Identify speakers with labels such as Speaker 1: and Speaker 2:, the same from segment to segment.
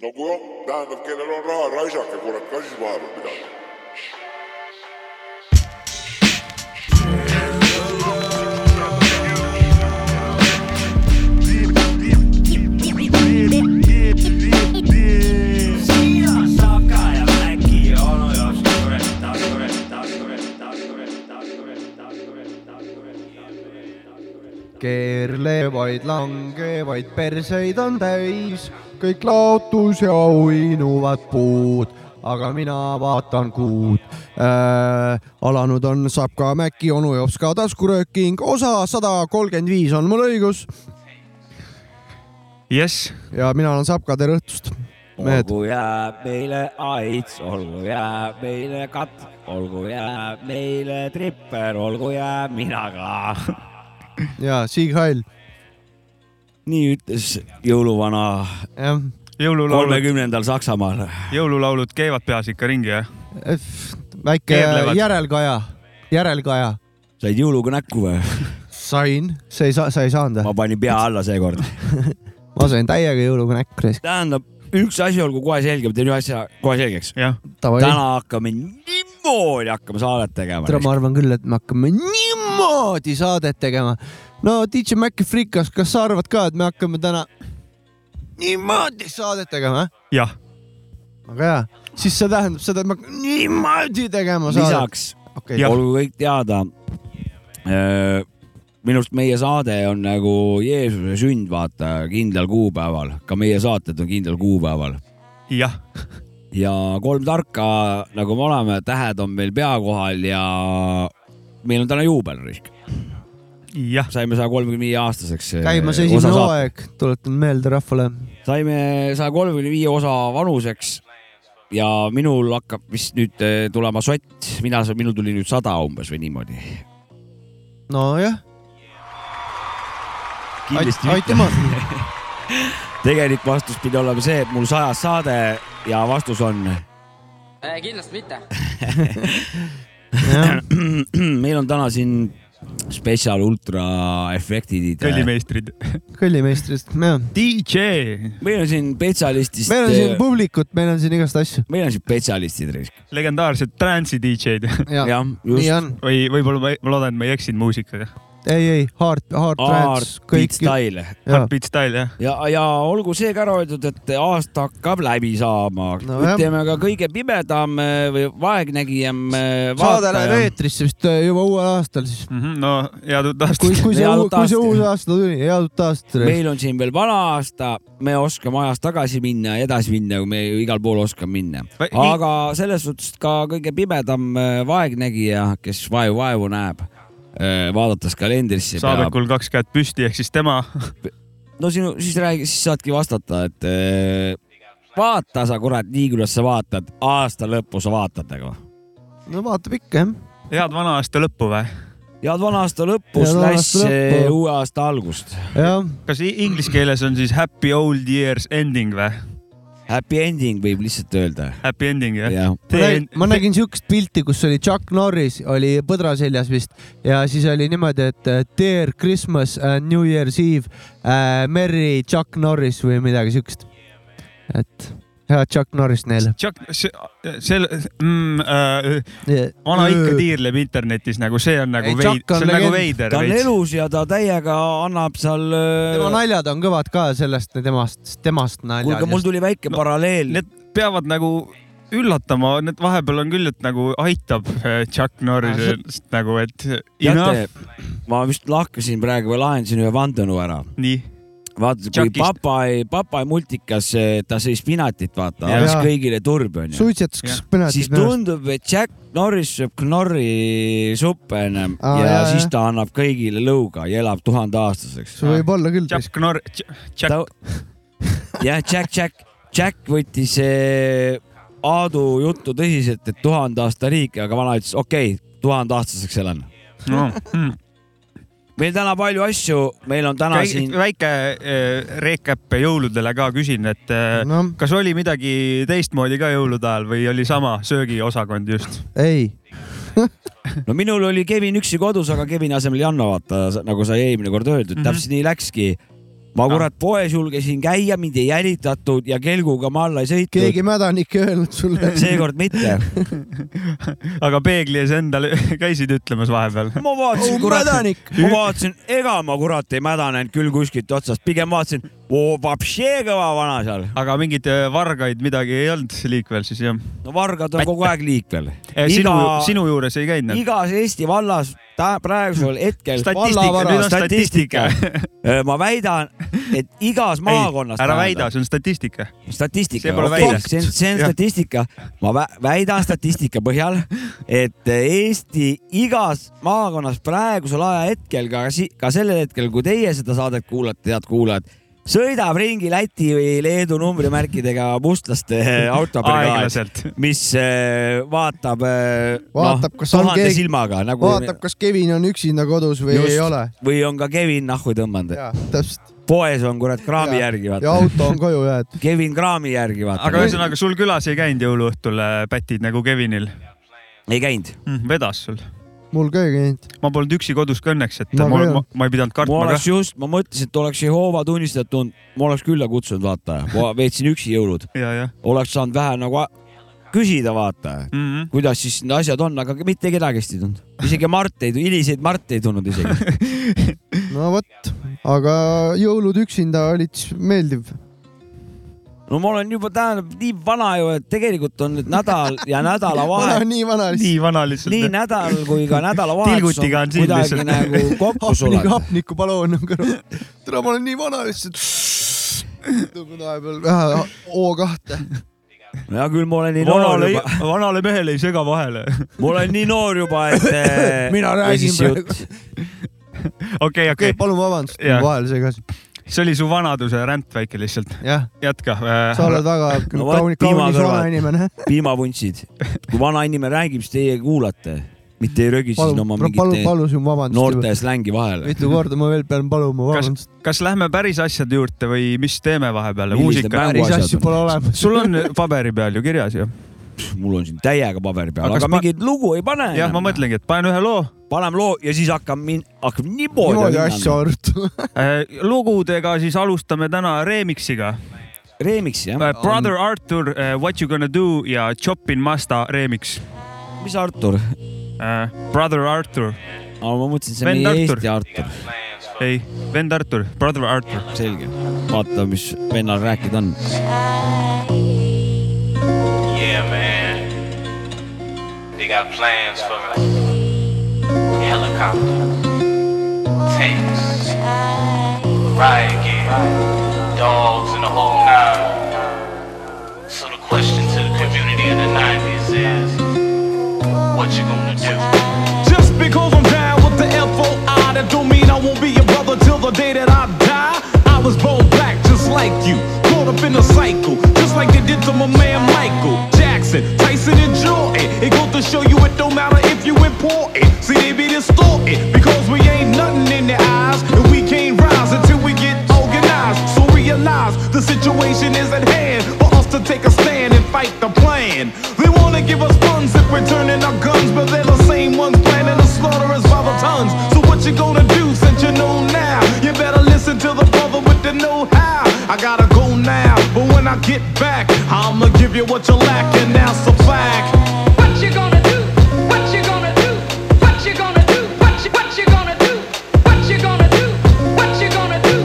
Speaker 1: no kui on , tähendab , kellel on raha , raisake kurat ka siis vahepeal midagi .
Speaker 2: keerlevaid , langevaid perseid on täis , kõik laotus ja uinuvad puud , aga mina vaatan kuud äh, . alanud on Sapka Mäkki , onu jops ka taskurööking , osa sada kolmkümmend viis on mul õigus
Speaker 3: jess ,
Speaker 2: ja mina olen Sapka , tere õhtust . mehed ,
Speaker 4: olgu jääb meile aits , olgu jääb meile katt , olgu jääb meile tripper , olgu jääb mina ka .
Speaker 2: ja Siig Hail ,
Speaker 4: nii ütles jõuluvana
Speaker 2: jah .
Speaker 3: jõululaulud ,
Speaker 4: kolmekümnendal Saksamaal .
Speaker 3: jõululaulud käivad peas ikka ringi , jah ?
Speaker 2: väike
Speaker 3: Keerlevad.
Speaker 2: järelkaja , järelkaja ,
Speaker 4: said jõuluga näkku või ?
Speaker 2: sain , sa ei saa , sa ei saanud või ?
Speaker 4: ma panin pea alla seekord .
Speaker 2: ma sain täiega jõuluga näkku ,
Speaker 4: tähendab , üks asi olgu kohe selge , ma teen ühe asja kohe selgeks .
Speaker 3: jah ,
Speaker 2: davai .
Speaker 4: täna hakkame niimoodi hakkame saadet tegema
Speaker 2: tere ,. ma arvan küll , et me hakkame niimoodi saadet tegema . no DJ Maci Frikas , kas sa arvad ka , et me hakkame täna niimoodi saadet tegema ?
Speaker 3: jah ,
Speaker 2: väga hea , siis see tähendab seda , et me hakkame niimoodi tegema saadet .
Speaker 4: lisaks
Speaker 2: okei ,
Speaker 3: Jah.
Speaker 4: olgu kõik teada . minust meie saade on nagu Jeesuse sünd , vaata kindlal kuupäeval , ka meie saated on kindlal kuupäeval
Speaker 3: jah ,
Speaker 4: ja kolm tarka , nagu me oleme , tähed on meil pea kohal ja meil on täna juubel , Risk .
Speaker 3: jah ,
Speaker 4: saime saja kolmekümne viie aastaseks . äh,
Speaker 2: käimas esimene . hooaeg , tuletan meelde rahvale .
Speaker 4: saime saja kolmekümne viie osa vanuseks ja minul hakkab vist nüüd eh, tulema sott , mina , minul tuli nüüd sada umbes või niimoodi .
Speaker 2: nojah ,
Speaker 4: kindlasti
Speaker 2: aitüma .
Speaker 4: tegelik vastus pidi olema see , et mul sajas saade ja vastus on ,
Speaker 5: Eh, kindlasti mitte .
Speaker 4: meil on täna siin spetsial ultra efektid .
Speaker 3: kõllimeistrid .
Speaker 2: kõllimeistrist , jah .
Speaker 3: DJ ,
Speaker 4: meil on siin spetsialistist .
Speaker 2: meil on siin publikut , meil on siin igast asju .
Speaker 4: meil on siin spetsialistid , Risk .
Speaker 3: legendaarsed trance'i DJ-d
Speaker 2: jah ,
Speaker 4: jah ,
Speaker 2: nii
Speaker 4: just .
Speaker 2: on .
Speaker 3: või võib-olla ma, ma loodan , et ma ei eksinud muusikaga .
Speaker 2: ei , ei , hard , hard trance ,
Speaker 4: Art , Beat
Speaker 2: kõik .
Speaker 4: Style
Speaker 3: Heartbeat Style , jah .
Speaker 4: ja , ja olgu see ka ära öeldud , et aasta hakkab läbi saama no, .
Speaker 2: Nojah.
Speaker 4: ütleme ka kõige pimedam eh, või vaegnägijam . äh,
Speaker 2: saade läheb . eetrisse vist eh, juba uuel aastal siis .
Speaker 3: Mhm, no head uut
Speaker 2: kui ,
Speaker 3: aastat .
Speaker 2: kui see
Speaker 4: Head , uut
Speaker 2: kui see
Speaker 4: aastat.
Speaker 2: uus aasta tuli , head uut aastat .
Speaker 4: meil on siin veel vana aasta , me oskame ajas tagasi minna ja edasi minna , kui me ju igal pool oskame minna .
Speaker 3: Va- nii-
Speaker 4: aga selles suhtes ka kõige pimedam eh, vaegnägija , kes vaevu vaevu näeb , vaadates kalendrisse .
Speaker 3: saadikul kaks kätt püsti , ehk siis tema
Speaker 4: no sinu , siis räägi , siis saadki vastata , et eh, vaata sa kurat nii , kuidas sa vaatad , aasta lõppu sa vaatad nagu .
Speaker 2: no vaatab ikka jah .
Speaker 3: head vana aasta lõppu või ?
Speaker 4: head vana aasta lõppu
Speaker 2: Head
Speaker 4: slaš
Speaker 2: vana aasta
Speaker 4: eh,
Speaker 2: lõppu.
Speaker 4: uue aasta algust .
Speaker 2: jah ,
Speaker 3: kas i- inglise keeles on siis happy old year's ending või ?
Speaker 4: Happy ending võib lihtsalt öelda .
Speaker 3: Happy ending jah ?
Speaker 4: jah ,
Speaker 2: ma nägin siukest pilti , kus oli Chuck Norris oli põdra seljas vist ja siis oli niimoodi , et eh, Dear Christmas and New Year's Eve äh, , Merry Chuck Norris või midagi siukest . et head Chuck Norris neile .
Speaker 3: Chuck , see , sel- mm, , äh, vana ikka . tiirleb internetis nagu see on nagu
Speaker 2: Ei,
Speaker 3: veid- ,
Speaker 2: Chuck on
Speaker 3: see on nagu
Speaker 2: legend.
Speaker 3: veider
Speaker 4: ta on
Speaker 3: veits .
Speaker 4: elus ja ta täiega annab seal .
Speaker 2: tema naljad on kõvad ka sellest , temast , temast naljad
Speaker 4: kuulge , mul . tuli väike
Speaker 3: No,
Speaker 4: paralleel .
Speaker 3: Need peavad nagu üllatama , need vahepeal on küll , et nagu aitab äh, Chuck Norris nagu , et enough ,
Speaker 4: teate , ma vist lahkasin praegu või lahendasin ühe vandenõu ära .
Speaker 3: nii .
Speaker 4: vaata , kui
Speaker 3: Chuckist.
Speaker 4: papai , papai multikas , ta sõi spinatit , vaata ,
Speaker 3: Jaa.
Speaker 4: andis kõigile turbi , onju .
Speaker 2: suitsetas , kas
Speaker 3: Jah.
Speaker 4: siis
Speaker 2: põnevad .
Speaker 4: tundub , et Jack Norris sööb knorri suppe ennem
Speaker 2: Aa,
Speaker 4: ja
Speaker 2: jaa,
Speaker 4: siis
Speaker 2: jah.
Speaker 4: ta annab kõigile lõuga ja elab tuhandeaastaseks .
Speaker 2: see võib olla küll .
Speaker 3: Chuck Nor- , Chuck ,
Speaker 4: Ta... jah , Jack , Jack , Jack võttis eh, Aadu juttu tõsiselt , et tuhande aasta riik , aga vana ütles okei okay, , tuhandeaastaseks elan .
Speaker 3: no hmm.
Speaker 4: meil täna palju asju , meil on täna
Speaker 3: Väike-
Speaker 4: siin ,
Speaker 3: väike äh, recap jõuludele ka küsin , et äh,
Speaker 2: noh ,
Speaker 3: kas oli midagi teistmoodi ka jõulude ajal või oli sama söögiosakond just ?
Speaker 2: ei ,
Speaker 4: no minul oli Kevin üksi kodus , aga Kevini asemel Janno , vaata , nagu sai eelmine kord öeldud mm , -hmm.
Speaker 3: Mhm.
Speaker 4: täpselt nii läkski . ma kurat poes julgesin käia , mind ei jälitatud ja kelguga ma alla ei sõitnud .
Speaker 2: keegi mädanik ei öelnud sulle .
Speaker 4: seekord mitte .
Speaker 3: aga peegli ees endale käisid ütlemas vahepeal .
Speaker 4: ma vaatasin
Speaker 2: Oh,
Speaker 4: kurat ,
Speaker 2: mädanik!
Speaker 4: ma vaatasin , ega ma kurat ei mädanenud küll kuskilt otsast , pigem vaatasin , oo , vapšee kõva vana seal .
Speaker 3: aga mingeid äh, vargaid midagi ei olnud liikvel siis jah ?
Speaker 4: no vargad on kogu aeg liikvel .
Speaker 3: sinu , sinu juures ei käinud nad ?
Speaker 4: igas Eesti vallas tä- praegusel hetkel
Speaker 3: statistika , nüüd on statistika .
Speaker 4: ma väidan , et igas maakonnas .
Speaker 3: ära väida , see on statistika .
Speaker 4: statistika
Speaker 3: See , pole
Speaker 4: okei ,
Speaker 3: väide.
Speaker 4: see on , see on
Speaker 3: Jah.
Speaker 4: statistika , ma vä- väidan statistika põhjal , et eh, Eesti igas maakonnas praegusel ajahetkel , ka si- , ka sellel hetkel , kui teie seda saadet kuulate , head kuulajad , sõidab ringi Läti või Leedu numbrimärkidega mustlaste eh, autobrigaad ,
Speaker 3: aeglaselt .
Speaker 4: mis äh, vaatab ,
Speaker 2: Vaatab, kas on
Speaker 4: tuhande
Speaker 2: keegi-
Speaker 4: silmaga nagu
Speaker 2: vaatab , kas Kevin on üksinda kodus või
Speaker 4: Just.
Speaker 2: Just. ei ole .
Speaker 4: või on ka Kevin nahku tõmmanud ,
Speaker 2: jaa , täpselt .
Speaker 4: poes on kurat kraami järgi
Speaker 2: ja
Speaker 4: vaata ,
Speaker 2: auto on koju jäetud .
Speaker 4: Kevin kraami järgi vaata
Speaker 3: aga , ühesõnaga , sul külas ei käinud jõuluõhtul äh, pätid nagu Kevinil
Speaker 4: ei käinud .
Speaker 3: mm, ? vedas sul ?
Speaker 2: mul ka ei käinud .
Speaker 3: ma polnud üksi kodus ka õnneks , et
Speaker 2: Ma
Speaker 3: ma, ma,
Speaker 2: ka-
Speaker 3: ma, ma ei pidanud
Speaker 4: ma
Speaker 3: kartma ka
Speaker 4: oleks . just , ma mõtlesin , et oleks Jehova tunnistajat tulnud , ma oleks külla kutsunud , vaata , ma veetsin üksi jõulud ,
Speaker 3: ja , ja
Speaker 4: oleks saanud vähe nagu a- küsida , vaata ,
Speaker 3: mm . -hmm.
Speaker 4: kuidas siis need asjad on , aga mitte kedagi vist ei tulnud , isegi Mart ei , hiliseid Mart ei tulnud isegi .
Speaker 2: no vot , aga jõulud üksinda olid siis meeldiv .
Speaker 4: no ma olen juba tähendab nii vana ju , et tegelikult on nüüd nädal ja
Speaker 2: ma
Speaker 4: nädalavahetus ,
Speaker 2: olen nii vana lihtsalt .
Speaker 3: nii vana lihtsalt .
Speaker 4: nii nädal kui ka nädalavahetus on
Speaker 3: Tilgutiga on siin
Speaker 4: kuidagi
Speaker 3: lihtsalt.
Speaker 4: nagu kokku
Speaker 2: hapnik ,
Speaker 4: sulanud .
Speaker 2: hapnikupaloon on kõrval . tere , ma olen nii vana lihtsalt . tõmban vahepeal vähe O2-e .
Speaker 4: hea küll , ma olen nii noor
Speaker 3: vanale
Speaker 4: juba ,
Speaker 3: vanale mehele ei sega vahele .
Speaker 4: ma olen nii noor juba , et . äh,
Speaker 2: Mina räägin praegu. .
Speaker 3: okei ,
Speaker 2: okei
Speaker 3: okei
Speaker 2: okay, , palun vabandust ,
Speaker 3: Jah.
Speaker 2: vahele segasin .
Speaker 3: see oli su vanaduse ränd väike lihtsalt ,
Speaker 2: jah ,
Speaker 3: jätka . Äh,
Speaker 2: sa oled väga
Speaker 4: No vot,
Speaker 2: kauni-
Speaker 4: piima
Speaker 2: kaunis vana
Speaker 4: kõrvad.
Speaker 2: inimene .
Speaker 4: piimavuntsid . kui vanainimene räägib , siis teie kuulate , mitte ei rögi siin oma
Speaker 2: palun , palun ,
Speaker 4: mingite
Speaker 2: palusin vabandust
Speaker 4: noorte . slängi vahele .
Speaker 2: mitu korda ma veel pean paluma vabandust .
Speaker 3: kas lähme päris asjade juurde või mis teeme vahepeal ,
Speaker 4: Milliste
Speaker 3: muusika ?
Speaker 4: mängu-
Speaker 2: päris
Speaker 4: asjad
Speaker 2: asju
Speaker 4: on.
Speaker 2: pole olemas .
Speaker 3: sul on paberi peal ju kirjas ju ?
Speaker 4: mul on siin täiega paberi peal ,
Speaker 3: Aga
Speaker 4: aga
Speaker 3: kas ma-
Speaker 4: mingit lugu ei pane .
Speaker 3: jah , ma . mõtlengi , et panen ühe loo .
Speaker 4: paneme loo ja siis hakkame min- , hakkame
Speaker 2: niimoodi
Speaker 4: niimoodi
Speaker 2: asju . arutama .
Speaker 3: Äh, lugudega siis alustame täna Remix'iga .
Speaker 4: Remix'i jah ?
Speaker 3: Brother Arthur , What you gonna do ja Chopin Masta remix .
Speaker 4: mis Artur ?
Speaker 3: Brother Arthur ,
Speaker 4: ma mõtlesin , see on
Speaker 3: Vend
Speaker 4: meie
Speaker 3: Artur.
Speaker 4: Eesti Artur .
Speaker 3: ei , vend Artur , Brother Arthur .
Speaker 4: selge . vaata , mis vennal rääkida on .
Speaker 6: Yeah, man. They got plans for me. Helicopter. Tanks. Riot gear. Dogs and the whole nine. So the question to the community of the 90s is, what you gonna do?
Speaker 7: Just because I'm down with the FOI, that don't mean I won't be your brother till the day that I die. I was born black just like you, caught up in a cycle, just like they did to my man Michael Jackson, Tyson, and Jordan. It goes to show you it don't matter if you important. See, they be distorted because we ain't nothing in their eyes, and we can't rise until we get organized. So realize the situation is at hand for us to take a stand and fight the plan. They wanna give us funds if we're turning our guns, but they're the same ones planning to slaughter us by the tons. So what you gonna do since you know now? You better listen to the brother with the know-how. I gotta go now, but when I get back, I'ma give you what you lack, and that's a fact.
Speaker 8: What you gonna do? What you gonna do? What you gonna do? What you what you gonna do? What you gonna do? What you gonna do?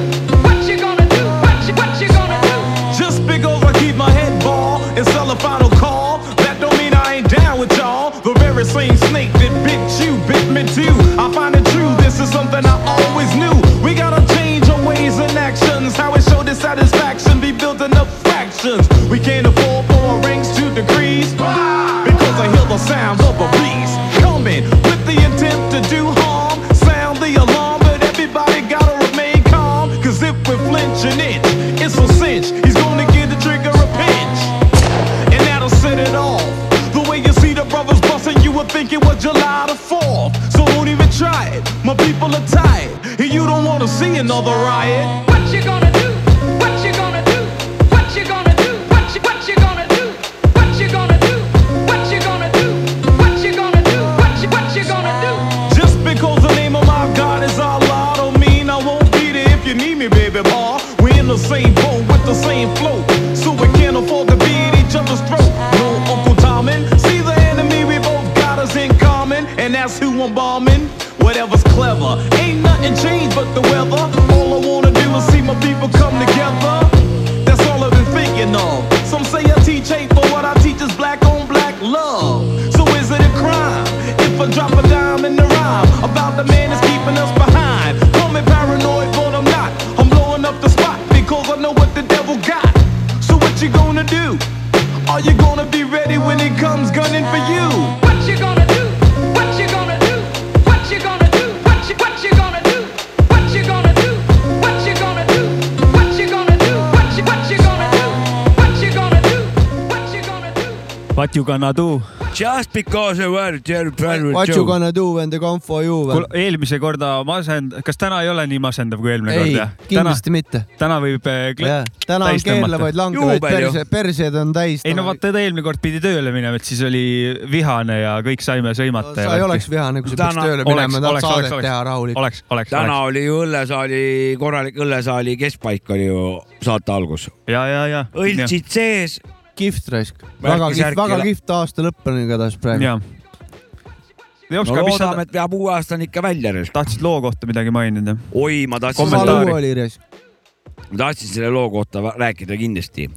Speaker 8: What you gonna do? What you what you gonna do?
Speaker 7: Just because I keep my head ball and sell a final call, that don't mean I ain't down with y'all. The very same snake that bit you bit me too. I find it true, this is something I always knew. We gotta change our ways and actions. How it show dissatisfaction be building up fractions. We can't afford for our ranks to decrease because I hear the sounds of a beast coming with the intent to do harm. Sound the alarm, but everybody gotta remain calm. Cause if we flinch an inch, it's a cinch. He's gonna give the trigger a pinch. And that'll set it off. The way you see the brothers busting, you would think it was July the 4th. So don't even try it. My people are tired. And you don't wanna see another riot.
Speaker 8: What you gonna do? What you gonna do? What you gonna do? What you what you gonna do? What you gonna do? What you gonna do? What you gonna do? What you what you gonna do?
Speaker 7: Just because the name of my God is Allah don't mean I won't be there if you need me, baby boy. embalming? Whatever's clever. Ain't nothing changed but the weather. All I wanna do is see my people come together. That's all I've been thinking of. Some say I teach hate, but what I teach is black on black love. So is it a crime if I drop a dime in the rhyme about the man that's keeping us behind? Call me paranoid, but I'm not. I'm blowing up the spot because I know what the devil got. So what you gonna do? Are you gonna be ready when it comes gunning for you?
Speaker 8: What you gonna do? What you gonna do? What you gonna do? What you what you gonna do? What you gonna do? What you gonna do? What you gonna do? What you what you gonna do? What you gonna do? What you gonna do?
Speaker 3: What you gonna do ?
Speaker 4: Just because you were your friend with
Speaker 2: What you
Speaker 4: Joe .
Speaker 2: gonna do when they come for you ?
Speaker 3: kuule , eelmise korda masend- , kas täna ei ole nii masendav kui eelmine
Speaker 2: ei
Speaker 3: kord jah ?,
Speaker 2: kindlasti mitte .
Speaker 3: täna võib äh, kle-
Speaker 2: jaa , täna on
Speaker 3: täis tõmmata.
Speaker 2: keerlevaid langevaid
Speaker 4: Juubel ju.
Speaker 2: perse , perseid on täis .
Speaker 3: ei no vaata , ta eelmine kord pidi tööle minema , et siis oli vihane ja kõik saime sõimata .
Speaker 2: sa ei oleks vihane , kui sa peaks
Speaker 4: Täna-
Speaker 2: tööle
Speaker 3: oleks-
Speaker 2: minema , tahad
Speaker 3: oleks- oleks-
Speaker 2: saadet
Speaker 3: oleks.
Speaker 2: teha rahulikult .
Speaker 3: oleks , oleks ,
Speaker 4: täna
Speaker 3: oleks .
Speaker 4: oli ju õllesaali , korralik õllesaali keskpaik oli ju saate algus .
Speaker 3: ja , ja , ja .
Speaker 4: õltsid sees .
Speaker 2: kihvt raisk . väga kihvt ,
Speaker 4: särki
Speaker 2: väga
Speaker 4: üle.
Speaker 2: kihvt aasta lõpp on igatahes praegu .
Speaker 3: ja . Jops
Speaker 4: no
Speaker 3: ka , mis sa
Speaker 4: loodame , et veab uue aasta on ikka välja .
Speaker 3: tahtsid loo kohta midagi mainida ?
Speaker 4: oi , ma tahtsin ,
Speaker 3: Kommentaari.
Speaker 2: Salu oli raisk .
Speaker 4: ma tahtsin selle loo kohta va- rääkida kindlasti .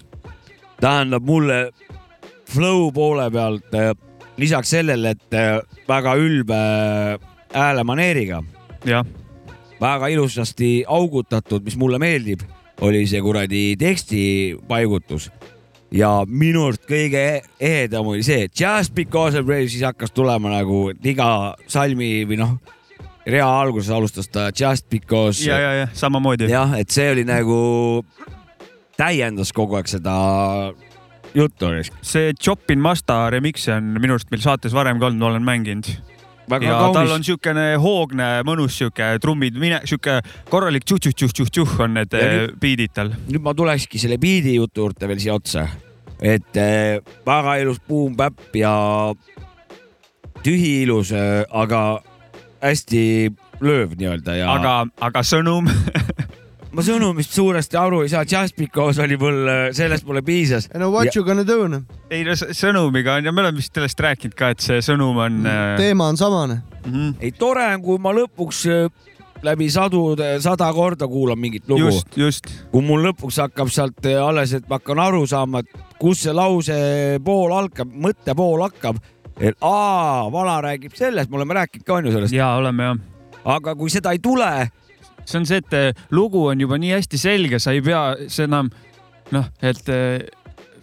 Speaker 4: tähendab mulle flow poole pealt eh, lisaks sellele , et eh, väga ülbe häälemaneeriga ,
Speaker 3: jah ,
Speaker 4: väga ilusasti augutatud , mis mulle meeldib , oli see kuradi teksti paigutus . ja minu arust kõige ehedam oli see , et just because I pray , siis hakkas tulema nagu et iga salmi või noh , rea alguses alustas ta just because
Speaker 3: ja , ja , ja samamoodi .
Speaker 4: jah , et see oli nagu , täiendas kogu aeg seda juttu .
Speaker 3: see Chopin Masta remix on minu arust meil saates varem ka olnud , ma olen mänginud .
Speaker 4: väga
Speaker 3: ja tal on
Speaker 4: kaunis .
Speaker 3: siukene hoogne , mõnus siuke trummid , mine siuke korralik tšuh-tšuh-tšuh-tšuh-tšuh on need
Speaker 4: Ja
Speaker 3: eh,
Speaker 4: nüüd-
Speaker 3: beat'id tal .
Speaker 4: nüüd ma tulekski selle biidi jutu juurde veel siia otsa , et eh, väga ilus buum-päpp ja tühi ilus , aga hästi lööv nii-öelda ja aga...
Speaker 3: aga , aga sõnum ,
Speaker 4: ma sõnumist suuresti aru ei saa , Just Because oli mul , sellest mulle piisas .
Speaker 2: ei no what you gonna do noh ,
Speaker 3: ei no s- sõnumiga on ja me oleme vist sellest rääkinud ka , et see sõnum
Speaker 4: Mm.
Speaker 3: on . äh,
Speaker 2: teema on samane .
Speaker 4: ei tore on , kui ma lõpuks eh, läbi sadu , sada korda kuulan mingit lugu
Speaker 3: just , just
Speaker 4: kui mul lõpuks hakkab sealt eh, alles , et ma hakkan aru saama , et kus see lause pool algab , mõtte pool hakkab , et aa , vana räägib sellest , me oleme rääkinud ka onju sellest ,
Speaker 3: ja oleme jah
Speaker 4: aga kui seda ei tule ,
Speaker 3: see on see , et eh, lugu on juba nii hästi selge , sa ei pea , see enam noh , et eh,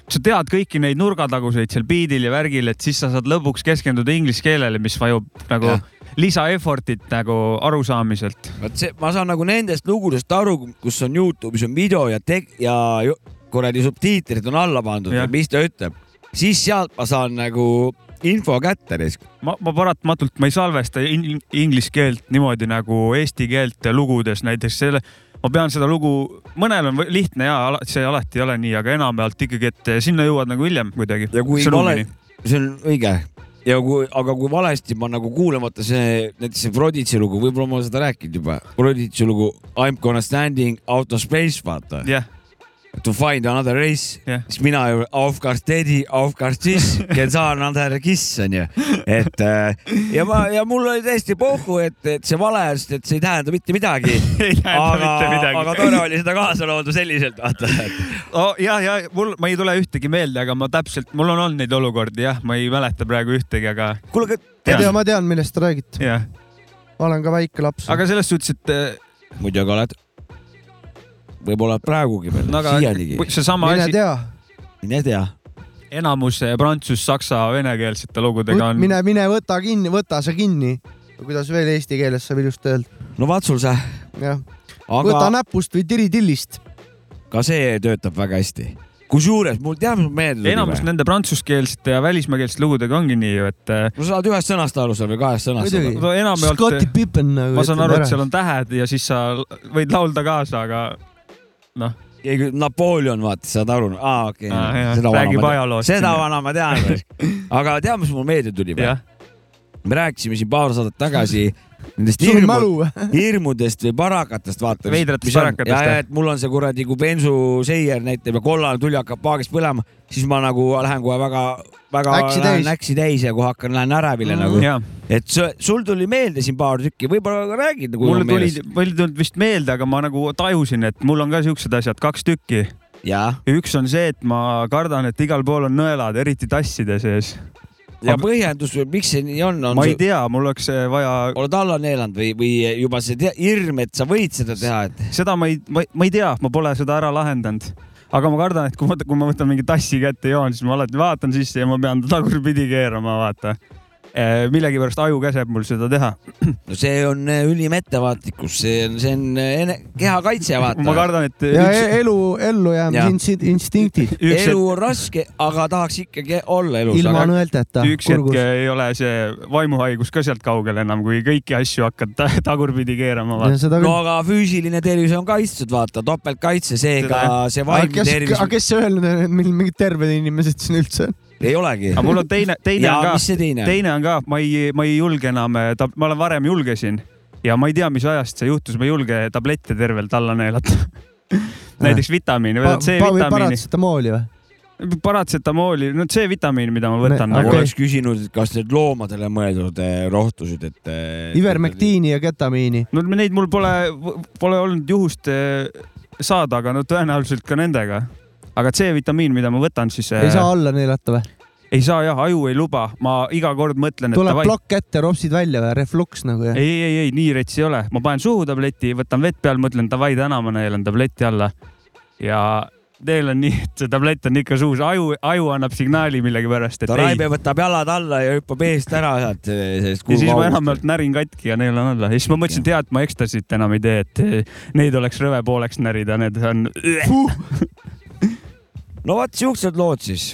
Speaker 3: sa tead kõiki neid nurgataguseid seal beat'il ja värgil , et siis sa saad lõpuks keskenduda inglise keelele , mis vajub nagu
Speaker 4: Jah.
Speaker 3: lisa effort'it nagu arusaamiselt .
Speaker 4: vot see , ma saan nagu nendest lugudest aru , kus on Youtube'is on video ja te- ja ju- kuradi subtiitrid on alla pandud
Speaker 3: Jah. ,
Speaker 4: mis ta ütleb , siis sealt ma saan nagu info kätte neist .
Speaker 3: ma , ma paratamatult , ma ei salvesta in- inglise keelt niimoodi nagu eesti keelt lugudes näiteks selle , ma pean seda lugu , mõnel on või- lihtne ja see alati ei ole nii , aga enamjaolt ikkagi , et sinna jõuad nagu hiljem kuidagi .
Speaker 4: ja kui vale , see on õige ja kui , aga kui valesti ma nagu kuulamata see näiteks see Broditsi lugu , võib-olla ma olen seda rääkinud juba , Broditsi lugu I m gonna standing out of space , vaata
Speaker 3: jah ,
Speaker 4: to find another race
Speaker 3: Jah.
Speaker 4: siis mina ju of course daddy , of course this , can sa another kiss onju , et äh, ja ma ja mul oli täiesti pohhu , et , et see vale , sest et see ei tähenda mitte midagi
Speaker 3: ei tähenda
Speaker 4: aga
Speaker 3: mitte , midagi .
Speaker 4: aga tore oli seda kaasa laulda selliselt , vaata .
Speaker 3: oh, . ja , ja mul , ma ei tule ühtegi meelde , aga ma täpselt , mul on olnud neid olukordi jah , ma ei mäleta praegu ühtegi , aga
Speaker 4: kuule , aga
Speaker 2: ma
Speaker 3: Jah.
Speaker 2: tean , ma tean , millest te räägite .
Speaker 3: jah ,
Speaker 2: ma olen ka väike laps .
Speaker 3: aga selles suhtes , et eh,
Speaker 4: muidugi oled , võib-olla oled praegugi veel
Speaker 3: no,
Speaker 4: no, ,
Speaker 3: aga
Speaker 4: siianigi .
Speaker 3: seesama
Speaker 2: mine
Speaker 3: asi ,
Speaker 2: tea ,
Speaker 4: mine tea .
Speaker 3: enamus eh, prantsuse , saksa , venekeelsete lugudega on ,
Speaker 2: mine , mine võta kinni , võta sa kinni . kuidas veel eesti keeles saab ilusti öelda ,
Speaker 4: no vaat sul see ,
Speaker 2: jah . võta
Speaker 4: aga
Speaker 2: näpust või tiritillist .
Speaker 4: ka see töötab väga hästi . kusjuures mul teab , mis meelde
Speaker 3: enamus
Speaker 4: tuli .
Speaker 3: nende prantsuskeelsete ja välismaakeelsete lugudega ongi nii ju , et eh,
Speaker 4: no sa saad ühest sõnast aru seal või kahest sõnast
Speaker 2: Muidugi.
Speaker 4: aru .
Speaker 3: Ah, no
Speaker 2: Scotti
Speaker 3: enamjaolt ,
Speaker 2: Pippen nagu .
Speaker 3: ma saan aru , et seal on tähed ja siis sa l- võid laulda kaasa , aga noh ,
Speaker 4: keegi , Napoleon vaata , saad aru , aa okei
Speaker 3: Aa, jah.
Speaker 4: Seda vana
Speaker 3: Räägib
Speaker 4: ma tean.
Speaker 3: ajaloost
Speaker 4: seda
Speaker 3: siin.
Speaker 4: vana ma tean . aga tead , mis mul meelde tuli või ?
Speaker 3: jah ,
Speaker 4: me rääkisime siin paar saadet tagasi nendest
Speaker 2: Sul on mälu
Speaker 4: hirmu,
Speaker 2: või?
Speaker 4: hirmudest või parakatest , vaata .
Speaker 3: Veidratest parakatest,
Speaker 4: ja ,
Speaker 3: jah.
Speaker 4: ja et mul on see kuradi , kui bensuseier näitab ja kollane tuli hakkab paagist põlema , siis ma nagu lähen kohe väga , väga
Speaker 2: Äksi
Speaker 4: lähen
Speaker 2: täis.
Speaker 4: äksi täis ja kui hakkan , lähen ärevile mm, nagu .
Speaker 3: jaa
Speaker 4: et see, sul tuli meelde siin paar tükki , võib-olla ka räägid nagu .
Speaker 3: mulle tuli , mul ei tulnud vist meelde , aga ma nagu tajusin , et mul on ka siuksed asjad , kaks tükki .
Speaker 4: ja ,
Speaker 3: üks on see , et ma kardan , et igal pool on nõelad , eriti tasside sees .
Speaker 4: ja
Speaker 3: Aga-
Speaker 4: põhjendus , miks see nii on , on
Speaker 3: ma ei . tea , mul oleks eh, vaja ,
Speaker 4: oled alla neelanud või , või juba see te- hirm , et sa võid seda teha , et
Speaker 3: seda ma ei , ma ei tea , ma pole seda ära lahendanud . aga ma kardan , et kui ma , kui ma võtan mingi tassi kätte ja joon , siis ma alati vaatan sisse ja ma pean ta tagurpidi keerama , vaata . millegipärast aju käseb mul seda teha .
Speaker 4: no see on eh, ülim ettevaatlikkus , see on , see on eh, ene- kehakaitse ,
Speaker 3: ma
Speaker 4: vaata .
Speaker 3: kardan , et
Speaker 2: ja
Speaker 3: üks ,
Speaker 2: e- elu , ellujäämise
Speaker 4: Jah.
Speaker 2: insti- instinktid
Speaker 3: üks
Speaker 4: elu on raske , aga tahaks ikkagi olla elus .
Speaker 2: ilma nõelteta .
Speaker 3: üks hetk eh, ei ole see vaimuhaigus ka sealt kaugel enam , kui kõiki asju hakkad ta- tagurpidi keerama , vaata .
Speaker 2: seda
Speaker 4: no
Speaker 2: küll .
Speaker 4: aga füüsiline tervis on kaitstud , vaata , topeltkaitse , seega
Speaker 3: Seda,
Speaker 4: see
Speaker 2: aga
Speaker 4: vaimne
Speaker 2: kes ,
Speaker 4: tervis
Speaker 2: aga kes öelnud , et meil mingid terved inimesed siin üldse on ?
Speaker 4: ei olegi .
Speaker 3: aga mul on teine , teine
Speaker 4: ja
Speaker 3: on
Speaker 4: mis
Speaker 3: ka ,
Speaker 4: see teine on ?
Speaker 3: teine on ka , ma ei , ma ei julge enam , ta , ma olen varem julgesin ja ma ei tea , mis ajast see juhtus , ma ei julge tablette tervelt alla neelata . näiteks vitamiini , võtad
Speaker 2: või
Speaker 3: C-vitamiini ,
Speaker 2: paratsetamooli või ?
Speaker 3: paratsetamooli , no C-vitamiini , mida ma võtan
Speaker 2: Me-
Speaker 4: ma
Speaker 3: nagu
Speaker 2: okei.
Speaker 3: okay. .
Speaker 4: oleks küsinud , et kas need loomadele mõeldud eh, rohtusid , et .
Speaker 2: Ivermektiini ja ketamiini .
Speaker 3: no neid mul pole , pole olnud juhust eh, saada , aga no tõenäoliselt ka nendega . aga C-vitamiin , mida ma võtan , siis eh,
Speaker 2: ei saa alla neelata või ?
Speaker 3: ei saa jah , aju ei luba , ma iga kord mõtlen , et
Speaker 2: tuleb
Speaker 3: davai.
Speaker 2: plokk ette , ropsid välja või ? refluks nagu jah ?
Speaker 3: ei , ei , ei nii rets ei ole , ma panen suhu tableti , võtan vett peal , mõtlen davai , täna ma neelan tableti alla . ja teil on nii , et see tablett on ikka suus , aju , aju annab signaali millegipärast , et
Speaker 4: Raive
Speaker 3: ei .
Speaker 4: võtab jalad alla ja hüppab eest ära sealt eh, sellest
Speaker 3: ja siis ma
Speaker 4: kuuvaugust .
Speaker 3: enamjaolt närin katki ja neelan alla ja siis ma mõtlesin , et hea , et ma ekstasit enam ei tee , et eh, neid oleks rõve pooleks närida , need on .
Speaker 4: no vot siuksed lood siis ,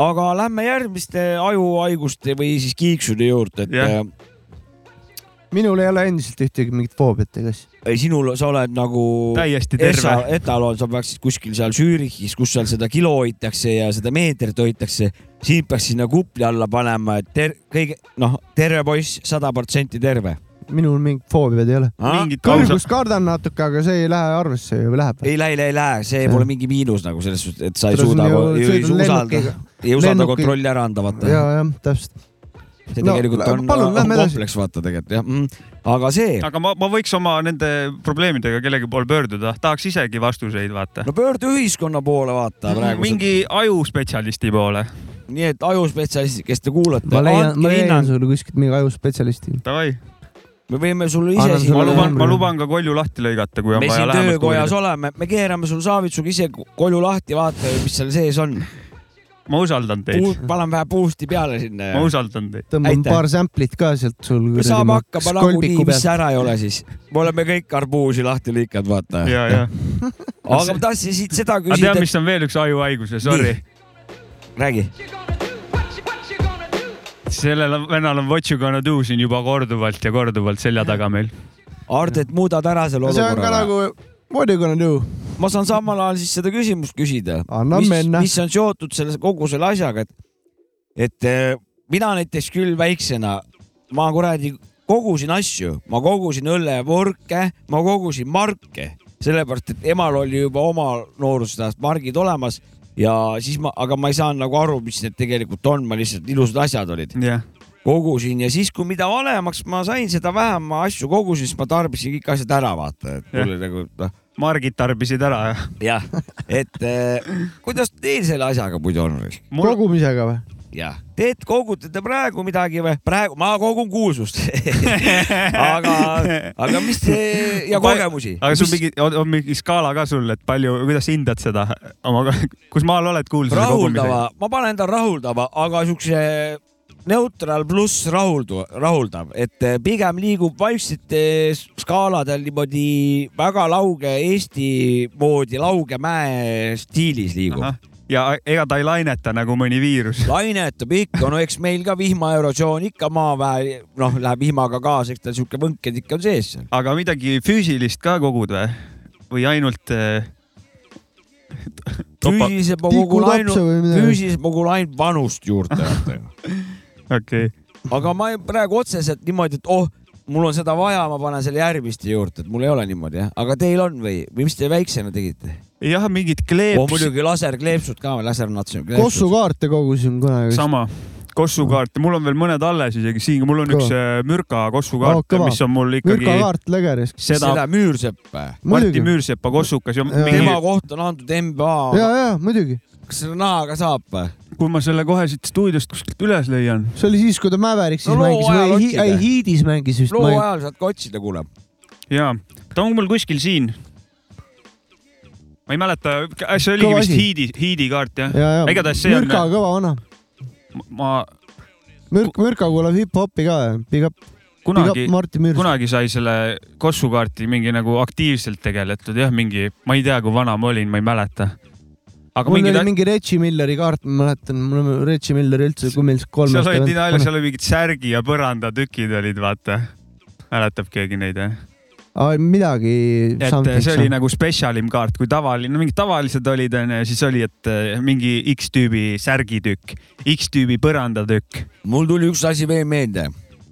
Speaker 4: aga lähme järgmiste ajuhaiguste või siis kiiksude juurde , et äh,
Speaker 3: Jah.
Speaker 4: yeah.
Speaker 2: minul ei ole endiselt ühtegi mingit foobiat ega siis .
Speaker 4: ei , sinul , sa oled nagu
Speaker 3: täiesti terve
Speaker 4: Esa, . etaloon , sa peaksid kuskil seal Zürichis , kus seal seda kilo hoitakse ja seda meetrit hoitakse , siin peaks sinna kupli alla panema , et ter- , kõige , noh , terve poiss , sada protsenti terve .
Speaker 2: minul mingit foobiat ei ole .
Speaker 3: mingit
Speaker 2: kõrgust kardan natuke , aga see ei lähe arvesse ju , läheb .
Speaker 4: ei lähe , ei lähe , ei lähe , see pole mingi miinus nagu selles suhtes , et sa ei
Speaker 2: Kuidas
Speaker 4: suuda
Speaker 2: on ju- ,
Speaker 4: ei
Speaker 2: nagu sõidad
Speaker 4: usalda
Speaker 2: lennukiga- ,
Speaker 4: ei usalda
Speaker 2: lennukiga-
Speaker 4: kontrolli ära anda , vaata .
Speaker 2: ja , jah , täpselt .
Speaker 4: see
Speaker 2: no,
Speaker 4: tegelikult on
Speaker 2: palun,
Speaker 4: on
Speaker 2: lähme edasi.
Speaker 4: kompleks , vaata tegelikult jah mm. . aga see ,
Speaker 3: aga ma , ma võiks oma nende probleemidega kellegi poole pöörduda , tahaks isegi vastuseid vaata .
Speaker 4: no pöördu ühiskonna poole ,
Speaker 2: Mm,
Speaker 4: vaata praegu .
Speaker 3: mingi ajuspetsialisti poole .
Speaker 4: nii et ajuspetsialistid , kes te kuulate ,
Speaker 2: ma leian , ma
Speaker 4: andke
Speaker 2: leian
Speaker 4: hinnang ,
Speaker 2: sulle kuskilt mingi ajuspetsialisti .
Speaker 3: Davai ,
Speaker 4: me võime sulle ise
Speaker 2: Annan
Speaker 4: siin
Speaker 3: ma
Speaker 2: sulle
Speaker 3: luban , ma luban ka kolju lahti lõigata , kui on
Speaker 4: me
Speaker 3: vaja
Speaker 4: siin
Speaker 3: lähemalt uurida
Speaker 4: töökojas . oleme , me keerame sul saavitsuga ise ko- kolju lahti , vaata , mis seal sees on .
Speaker 3: ma usaldan teid ,
Speaker 4: paneme vähe boost'i peale sinna
Speaker 3: ma
Speaker 4: ja
Speaker 3: usaldan teid .
Speaker 2: tõmban
Speaker 4: Aitäh.
Speaker 2: paar sample'it ka sealt sul .
Speaker 4: me saame hakkama nagunii , mis ära ei ole siis . me oleme kõik arbuusi lahti lõikanud , vaata .
Speaker 3: ja , ja .
Speaker 4: aga ma tahtsin siit seda
Speaker 3: aga
Speaker 4: küsida
Speaker 3: tead ,, mis on veel üks ajuhaigus ja sorry ,
Speaker 4: et räägi .
Speaker 3: sellel on- vennal on what you gonna do siin juba korduvalt ja korduvalt selja taga meil .
Speaker 4: Aart , et muudad ära selle
Speaker 2: see on ka
Speaker 4: olukorra nagu... .
Speaker 2: nagu what you gonna do ?
Speaker 4: ma saan samal ajal siis seda küsimust küsida .
Speaker 2: Anna
Speaker 4: mis
Speaker 2: minna. ,
Speaker 4: mis on seotud selle kogu selle asjaga , et , et eh, mina näiteks küll väiksena , ma kuradi kogusin asju , ma kogusin õllepurke , ma kogusin marke , sellepärast et emal oli juba oma noorusest ajast margid olemas ja siis ma , aga ma ei saanud nagu aru , mis need tegelikult on , ma lihtsalt ilusad asjad olid ,
Speaker 3: jah ,
Speaker 4: kogusin ja siis , kui mida vanemaks ma sain , seda vähem ma asju kogusin , siis ma tarbisin kõik asjad ära , vaata , et mul oli nagu noh ,
Speaker 3: margid tarbisid ära .
Speaker 4: jah , et eh, kuidas teil selle asjaga muidu on ?
Speaker 3: mul ,
Speaker 2: kogumisega või ?
Speaker 4: jah , te kogutate praegu midagi või ? praegu ma kogun kuulsust . aga , aga mis te ja kogemusi .
Speaker 3: aga sul mingi , on mingi skaala ka sul , et palju , kuidas hindad seda oma , kus maal oled kuulsuse kogumisega ?
Speaker 4: rahuldava , ma panen ta rahuldava , aga siukse neutral pluss rahuldu- , rahuldav , et äh, pigem liigub vaikselt eh, skaaladel niimoodi väga lauge Eesti moodi lauge mäe stiilis liigub .
Speaker 3: ja ega ta ei laineta nagu mõni viirus .
Speaker 4: lainetab ikka , no eks meil ka vihmaerotsioon ikka maaväe , noh , läheb vihmaga kaasa , eks tal sihuke võnked ikka on sees seal .
Speaker 3: aga midagi füüsilist ka kogud või ? või ainult eh, Topa-
Speaker 4: füüsiliselt ma kogun
Speaker 2: tikutapse või
Speaker 4: ainult ,
Speaker 2: midagi.
Speaker 4: füüsiliselt ma kogun ainult vanust juurde .
Speaker 3: okei okay. ,
Speaker 4: aga ma ei- praegu otseselt niimoodi , et oh , mul on seda vaja , ma panen selle järgmiste juurde , et mul ei ole niimoodi jah , aga teil on või , või mis te väiksena tegite ?
Speaker 3: jah , mingid
Speaker 4: on
Speaker 3: kleeps ,
Speaker 4: Oh, muidugi laserkleepsud ka või lasernatsjon ?
Speaker 2: kossukaarte kogusin kunagi .
Speaker 3: sama , kossukaarte , mul on veel mõned alles isegi siin , mul on
Speaker 2: Kõva.
Speaker 3: üks äh, mürka
Speaker 2: Oh,
Speaker 3: kossukaart
Speaker 2: kõva.
Speaker 3: oh, , mis on mul ikkagi
Speaker 2: mürkakaart legeris .
Speaker 3: seda, seda
Speaker 4: seda müürsepp või ?
Speaker 3: Martti
Speaker 2: muidugi.
Speaker 3: Müürsepa kossukas ja
Speaker 2: Jaa.
Speaker 3: mingi
Speaker 4: tema , kohta on antud
Speaker 2: ja
Speaker 4: MBA ,,
Speaker 2: ja muidugi ,
Speaker 4: kas selle nahaga saab või ?
Speaker 3: kui ma selle kohe siit stuudiost kuskilt üles leian ,
Speaker 2: see oli siis , kui ta Mäveriks siis
Speaker 4: No
Speaker 2: no,
Speaker 4: loo
Speaker 2: mängis
Speaker 4: ajal
Speaker 2: või hi,
Speaker 4: otsida.
Speaker 2: ei, Hiidis mängis vist .
Speaker 4: loo ajal saad ka otsida , kuule .
Speaker 3: jaa , ta on mul kuskil siin . ma ei mäleta , see oligi
Speaker 2: Kõva
Speaker 3: vist
Speaker 2: asi.
Speaker 3: Hiidi , Hiidi kaart jah
Speaker 2: ja , ja ,
Speaker 3: igatahes see
Speaker 2: mürka
Speaker 3: on ,
Speaker 2: kõva vana .
Speaker 3: ma
Speaker 2: mürk , mürka kuulab hip-hopi ka , big up , big
Speaker 3: kunagi
Speaker 2: up , Martin Müürsepp .
Speaker 3: kunagi sai selle kossukaarti mingi nagu aktiivselt tegeletud jah , mingi , ma ei tea , kui vana ma olin , ma ei mäleta . aga
Speaker 2: mul
Speaker 3: mingid
Speaker 2: oli , mingi Reggie Milleri kaart , ma mäletan , mul on Reggie Miller üldse , kui meil kolm
Speaker 3: seal olid nii
Speaker 2: tagasi-
Speaker 3: nalja , seal olid mingid särgi ja põrandatükid olid , vaata . mäletab keegi neid jah ?
Speaker 2: Aa, midagi .
Speaker 3: et see oli nagu spetsialim kaart kui tavaline , mingid tavalised olid onju , siis oli , et eh, mingi X-tüübi särgitükk , X-tüübi põrandatükk .
Speaker 4: mul tuli üks asi veel meelde ,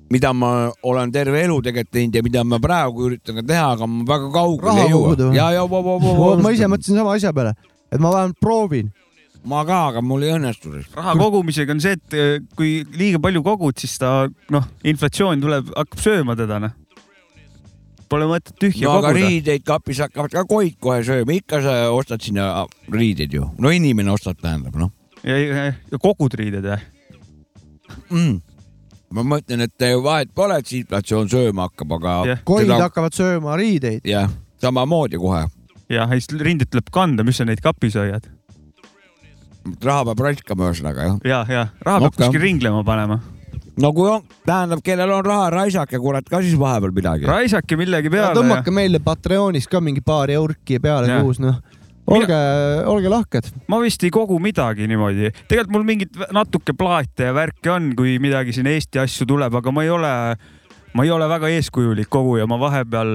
Speaker 4: mida ma olen terve elu tegelikult teinud ja mida ma praegu üritan ka teha , aga ma väga kaugele
Speaker 2: Raha
Speaker 4: ei jõua
Speaker 2: koguda . või?
Speaker 4: ja , ja ,
Speaker 2: ma ise mõtlesin sama asja peale , et ma vähemalt proovin .
Speaker 4: ma ka , aga mul ei õnnestu .
Speaker 3: raha kogumisega on see , et eh, kui liiga palju kogud , siis ta noh , inflatsioon tuleb , hakkab sööma teda noh . Pole mõtet tühja
Speaker 4: no aga
Speaker 3: koguda .
Speaker 4: riideid kapis hakkavad ka koid kohe sööma , ikka sa ostad sinna riideid ju . no inimene ostab , tähendab noh
Speaker 3: ja, ja, ja kogud riided või ?
Speaker 4: mm. . ma mõtlen , et vahet pole , et see inflatsioon sööma hakkab , aga
Speaker 3: Jah.
Speaker 2: koid teda... . hakkavad sööma riideid .
Speaker 4: jah , samamoodi kohe .
Speaker 3: jah , siis rindeid tuleb kanda , mis sa neid kapis hoiad .
Speaker 4: raha peab raiskama , ühesõnaga jah .
Speaker 3: ja , ja raha peab
Speaker 4: Okei.
Speaker 3: kuskil ringlema panema .
Speaker 4: no kui on , tähendab , kellel on raha , raisake kurat ka siis vahepeal midagi .
Speaker 3: raisake millegi peale ja
Speaker 2: tõmmake meile Patreonis ka mingi paar eurki peale
Speaker 3: Jah.
Speaker 2: kuus , noh . olge , olge lahked .
Speaker 3: ma vist ei kogu midagi niimoodi . tegelikult mul mingit vä- natuke plaate ja värke on , kui midagi siin Eesti asju tuleb , aga ma ei ole , ma ei ole väga eeskujulik koguja , ma vahepeal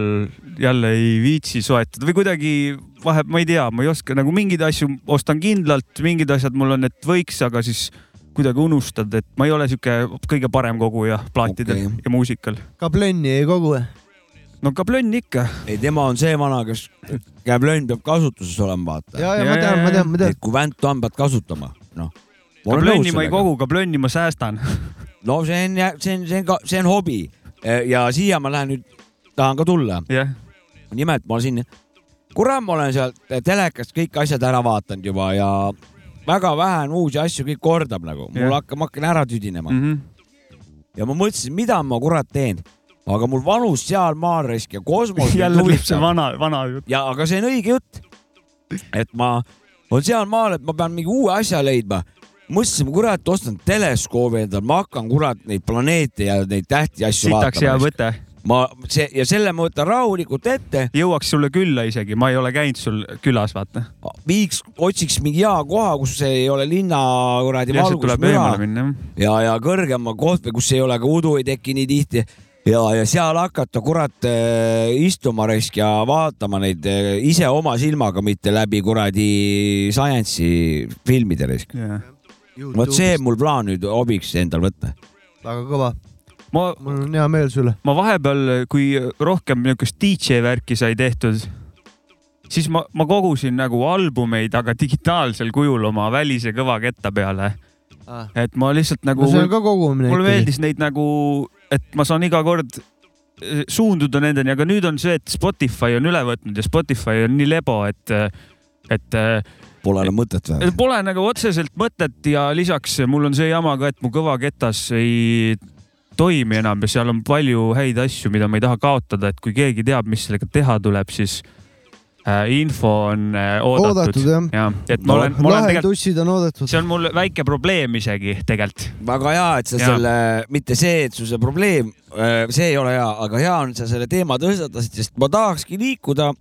Speaker 3: jälle ei viitsi soetada või kuidagi vahe , ma ei tea , ma ei oska nagu mingeid asju ostan kindlalt , mingid asjad mul on , et võiks , aga siis kuidagi unustad , et ma ei ole sihuke kõige parem koguja plaatidel
Speaker 4: Okei.
Speaker 3: okay. ja muusikal .
Speaker 2: ka plönni ei kogu .
Speaker 3: no kablönn ikka .
Speaker 4: ei , tema on see vana , kes käblönn peab kasutuses olema , vaata .
Speaker 2: ja , ja
Speaker 3: Ja,
Speaker 2: ma
Speaker 3: ja,
Speaker 2: tean ,
Speaker 3: ja.
Speaker 2: ma tean , ma tean
Speaker 4: et . kui vänt on , pead kasutama , noh .
Speaker 3: kablönni ma ei kogu , kablönni ma säästan .
Speaker 4: no see on , see on , see on ka , see on hobi . ja siia ma lähen nüüd , tahan ka tulla .
Speaker 3: jah ,
Speaker 4: nimelt ma siin , kurat , ma olen sealt telekast kõik asjad ära vaadanud juba ja väga vähe on uusi asju , kõik kordab nagu . mul
Speaker 3: Jah.
Speaker 4: hakkab , ma hakkan ära tüdinema mm.
Speaker 3: jah ,
Speaker 4: ja ma mõtlesin , mida ma kurat teen . aga mul vanus sealmaal raisk ja kosmos .
Speaker 3: jälle tuleb see vana , vana jutt .
Speaker 4: ja aga see on õige jutt . et ma , on sealmaal , et ma pean mingi uue asja leidma . mõtlesin , kurat , ostan teleskoobi endale , ma hakkan kurat neid planeete ja neid tähti ja asju
Speaker 3: sitaks hea
Speaker 4: vaatama .
Speaker 3: võte
Speaker 4: ma see ja selle ma võtan rahulikult ette ,
Speaker 3: jõuaks sulle külla isegi , ma ei ole käinud sul külas , vaata .
Speaker 4: viiks , otsiks mingi hea koha , kus ei ole linna kuradi
Speaker 3: lihtsalt tuleb
Speaker 4: valgusmüra
Speaker 3: eemale minna ,
Speaker 4: ja , ja kõrgema koht või kus ei ole ka udu ei teki nii tihti ja , ja seal hakata kurat äh, istuma raisk ja vaatama neid äh, ise oma silmaga , mitte läbi kuradi science'i filmide raisk .
Speaker 3: jah .
Speaker 4: vot see . on mul plaan nüüd hobiks endal võtta .
Speaker 2: väga kõva ,
Speaker 3: ma ,
Speaker 2: mul on hea meel sulle .
Speaker 3: ma vahepeal , kui rohkem niisugust DJ värki sai tehtud , siis ma , ma kogusin nagu albumeid , aga digitaalsel kujul oma välise kõvaketta peale ,
Speaker 2: Ah. no
Speaker 3: et ma lihtsalt nagu
Speaker 2: see on ka kogumine .
Speaker 3: mulle meeldis neid nagu , et ma saan iga kord eh, suunduda nendeni , aga nüüd on see , et Spotify on üle võtnud ja Spotify on nii lebo , et , et eh,
Speaker 4: Pole enam mõtet või ?
Speaker 3: Pole nagu otseselt mõtet ja lisaks mul on see jama ka , et mu kõvaketas ei toimi enam ja seal on palju häid asju , mida ma ei taha kaotada , et kui keegi teab , mis sellega teha tuleb , siis äh, info on äh, oodatud,
Speaker 2: Oodatud, jah.
Speaker 3: oodatud . jah , et ma olen , ma olen tegelikult ,
Speaker 2: lahendussid on oodatud .
Speaker 3: see on mul väike probleem isegi tegelikult .
Speaker 4: väga hea , et sa
Speaker 3: Jaa.
Speaker 4: selle , mitte see , et su see probleem , see ei ole hea , aga hea on , et sa selle teema tõstatasid , sest ma tahakski liikuda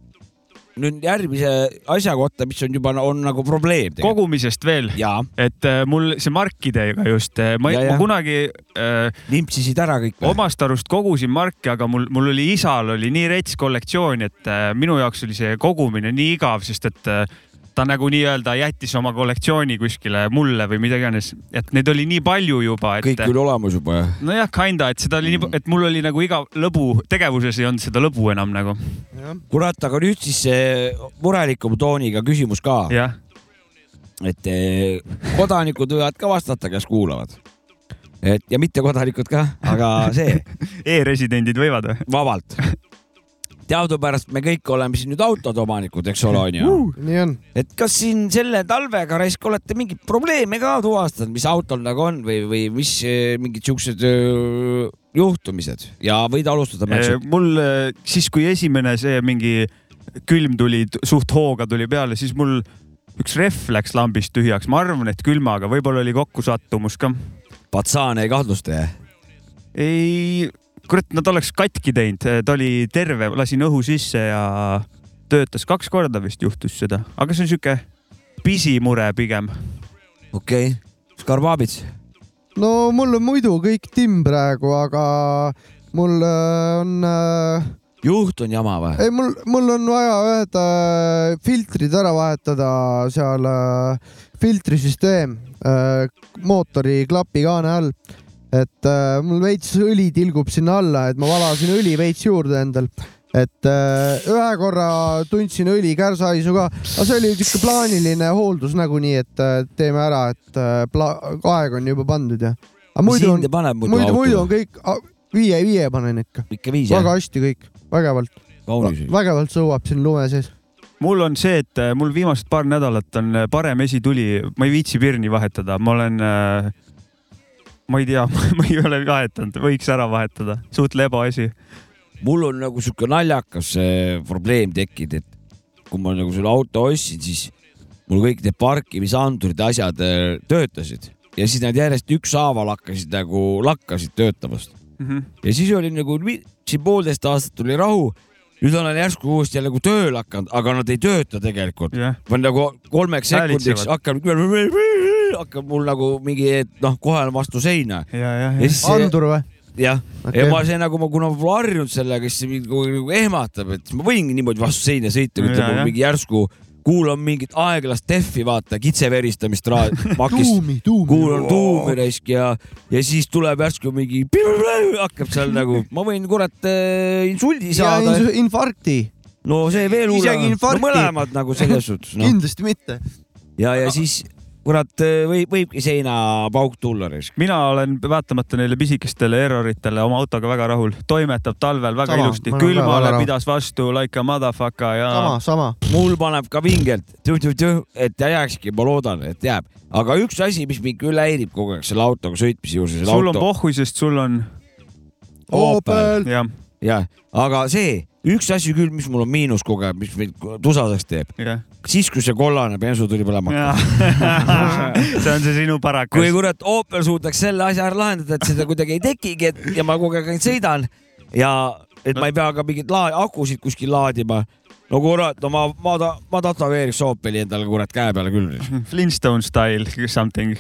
Speaker 4: nüüd järgmise asja kohta , mis on juba , on nagu probleem .
Speaker 3: kogumisest veel ,
Speaker 4: jaa ,
Speaker 3: et äh, mul see markidega just , ma,
Speaker 4: Ja,
Speaker 3: ja,
Speaker 4: ja.
Speaker 3: ma kunagi äh,
Speaker 4: limpsisid ära kõik või ?
Speaker 3: omast arust kogusin marke , aga mul , mul oli isal oli nii rets kollektsioon , et äh, minu jaoks oli see kogumine nii igav , sest et äh, ta nagu nii-öelda jättis oma kollektsiooni kuskile mulle või mida iganes , et neid oli nii palju juba , et .
Speaker 4: kõik Mm. oli olemas juba .
Speaker 3: nojah , kinda , et seda oli nii , et mul oli nagu iga lõbu tegevuses ei olnud seda lõbu enam nagu .
Speaker 4: kurat , aga nüüd siis see murelikuma tooniga küsimus ka ,
Speaker 3: jah ,
Speaker 4: et eh, kodanikud võivad ka vastata , kes kuulavad . et ja mittekodanikud ka , aga see
Speaker 3: e-residendid võivad või ?
Speaker 4: vabalt . teadupärast me kõik oleme siin nüüd autode omanikud , eks ole , onju .
Speaker 2: nii on .
Speaker 4: et kas siin selle talvega raisk olete mingeid probleeme ka tuvastanud , mis autol nagu on või , või mis eh, mingid siuksed öö, juhtumised ja võid alustada Mäksu .
Speaker 3: Äh, mul eh, siis , kui esimene see mingi külm tuli , suht hooga tuli peale , siis mul üks rehv läks lambist tühjaks , ma arvan , et külmaga , võib-olla oli kokkusattumus ka .
Speaker 4: Patsaan ei kahtlusta jah ?
Speaker 3: ei , kurat , nad oleks katki teinud , ta oli terve , lasin õhu sisse ja töötas kaks korda vist juhtus seda , aga see on sihuke pisimure pigem .
Speaker 4: okei okay. . Skarbabits .
Speaker 2: no mul on muidu kõik timm praegu , aga mul äh, on äh,
Speaker 4: juht on jama või ?
Speaker 2: ei , mul , mul on vaja ühed äh, filtrid ära vahetada seal äh, , filtrisüsteem äh, mootori klapikaane all . et äh, mul veits õli tilgub sinna alla , et ma valasin õli veits juurde endal et äh, ühe korra tundsin õli kärsahaisu ka , aga see oli niisugune plaaniline hooldus nagunii , et äh, teeme ära , et äh, pla- aeg on juba pandud ja . aga muidu on
Speaker 4: sind , paneb muidu,
Speaker 2: muidu , muidu
Speaker 4: auto
Speaker 2: on ? kõik , viie , viie panen ikka ,
Speaker 4: ikka viis jah
Speaker 2: väga ? hästi kõik , vägevalt .
Speaker 4: kaunis oli .
Speaker 2: vägevalt sõuab siin lume sees .
Speaker 3: mul on see , et äh, mul viimased paar nädalat on äh, parem esituli , ma ei viitsi pirni vahetada , ma olen , ma ei tea , ma ei ole vahetanud , võiks ära vahetada , suht lebo asi .
Speaker 4: mul on nagu sihuke naljakas eh, probleem tekkinud , et kui ma nagu selle auto ostsin , siis mul kõik need parkimisandurid ja asjad eh, töötasid ja siis nad järjest ükshaaval hakkasid nagu lakkasid töötamast . ja siis oli nagu mi- siin poolteist aastat oli rahu , nüüd on nad järsku uuesti jälle nagu tööle hakanud , aga nad ei tööta tegelikult .
Speaker 3: jah ,
Speaker 4: ma nagu kolmeks sekundiks hakkan , hakkab mul nagu mingi , et noh , kohe on vastu seina .
Speaker 3: ja , ja ,
Speaker 4: ja
Speaker 3: ja .
Speaker 4: siis see-
Speaker 2: andur või ?
Speaker 4: jah okay. ,
Speaker 2: Okei.
Speaker 4: ja ma see nagu ma , kuna ma pole harjunud sellega , siis see mind kogu aeg nagu ehmatab , et siis ma võingi niimoodi vastu seina sõita ,
Speaker 3: Ja,
Speaker 4: kui ütleb
Speaker 3: jah.
Speaker 4: mul mingi järsku , kuulan mingit aeglast defi , vaata , kitseveristamist ra- makist ,
Speaker 2: tuumi , tuumi .
Speaker 4: kuulan tuumi raisk ja , ja siis tuleb järsku mingi hakkab seal nagu , ma võin kurat äh, insuldi
Speaker 2: ja
Speaker 4: saada .
Speaker 2: insu- infarkti
Speaker 4: no see veel
Speaker 2: isegi
Speaker 4: hullem , no
Speaker 2: infarkti.
Speaker 4: mõlemad nagu selles suhtes ,
Speaker 2: no. ,
Speaker 4: noh ,
Speaker 2: kindlasti mitte .
Speaker 4: ja , ja siis kurat äh, võib , võibki seinapauk tulla raisk .
Speaker 3: mina olen vaatamata neile pisikestele erroritele oma autoga väga rahul , toimetab talvel väga Sama,
Speaker 2: Sama,
Speaker 3: ilusti
Speaker 2: ma , olen väga
Speaker 3: külmale
Speaker 2: rahul.
Speaker 3: pidas vastu like a motherfucker ja
Speaker 4: Ah.
Speaker 2: sama , sama .
Speaker 4: mul paneb ka vingelt tüh-tüh-tüh , et ta jääkski , ma loodan , et jääb . aga üks asi , mis mind küll häirib kogu aeg selle autoga sõitmise juures , selle
Speaker 3: sul on
Speaker 4: auto ,
Speaker 3: pohhu , sest sul on ,
Speaker 2: Opel .
Speaker 3: jah ,
Speaker 4: jah , aga see üks asi küll , mis mul on miinus kogu aeg , mis mind tusaseks teeb ,
Speaker 3: jah .
Speaker 4: siis kui see kollane bensu tuli põlema .
Speaker 3: see on see sinu
Speaker 4: kui
Speaker 3: parakas .
Speaker 4: kurat Opel suudaks selle asja ära lahendada , et seda kuidagi ei tekigi , et ja ma kogu aeg ainult sõidan ja et ma ei pea ka mingeid laa- , akusid kuskil laadima . no kurat , no ma , ma , ma tätoveeriks Opeli endale kurat käe peale küll
Speaker 3: Mhm. Flintstone style something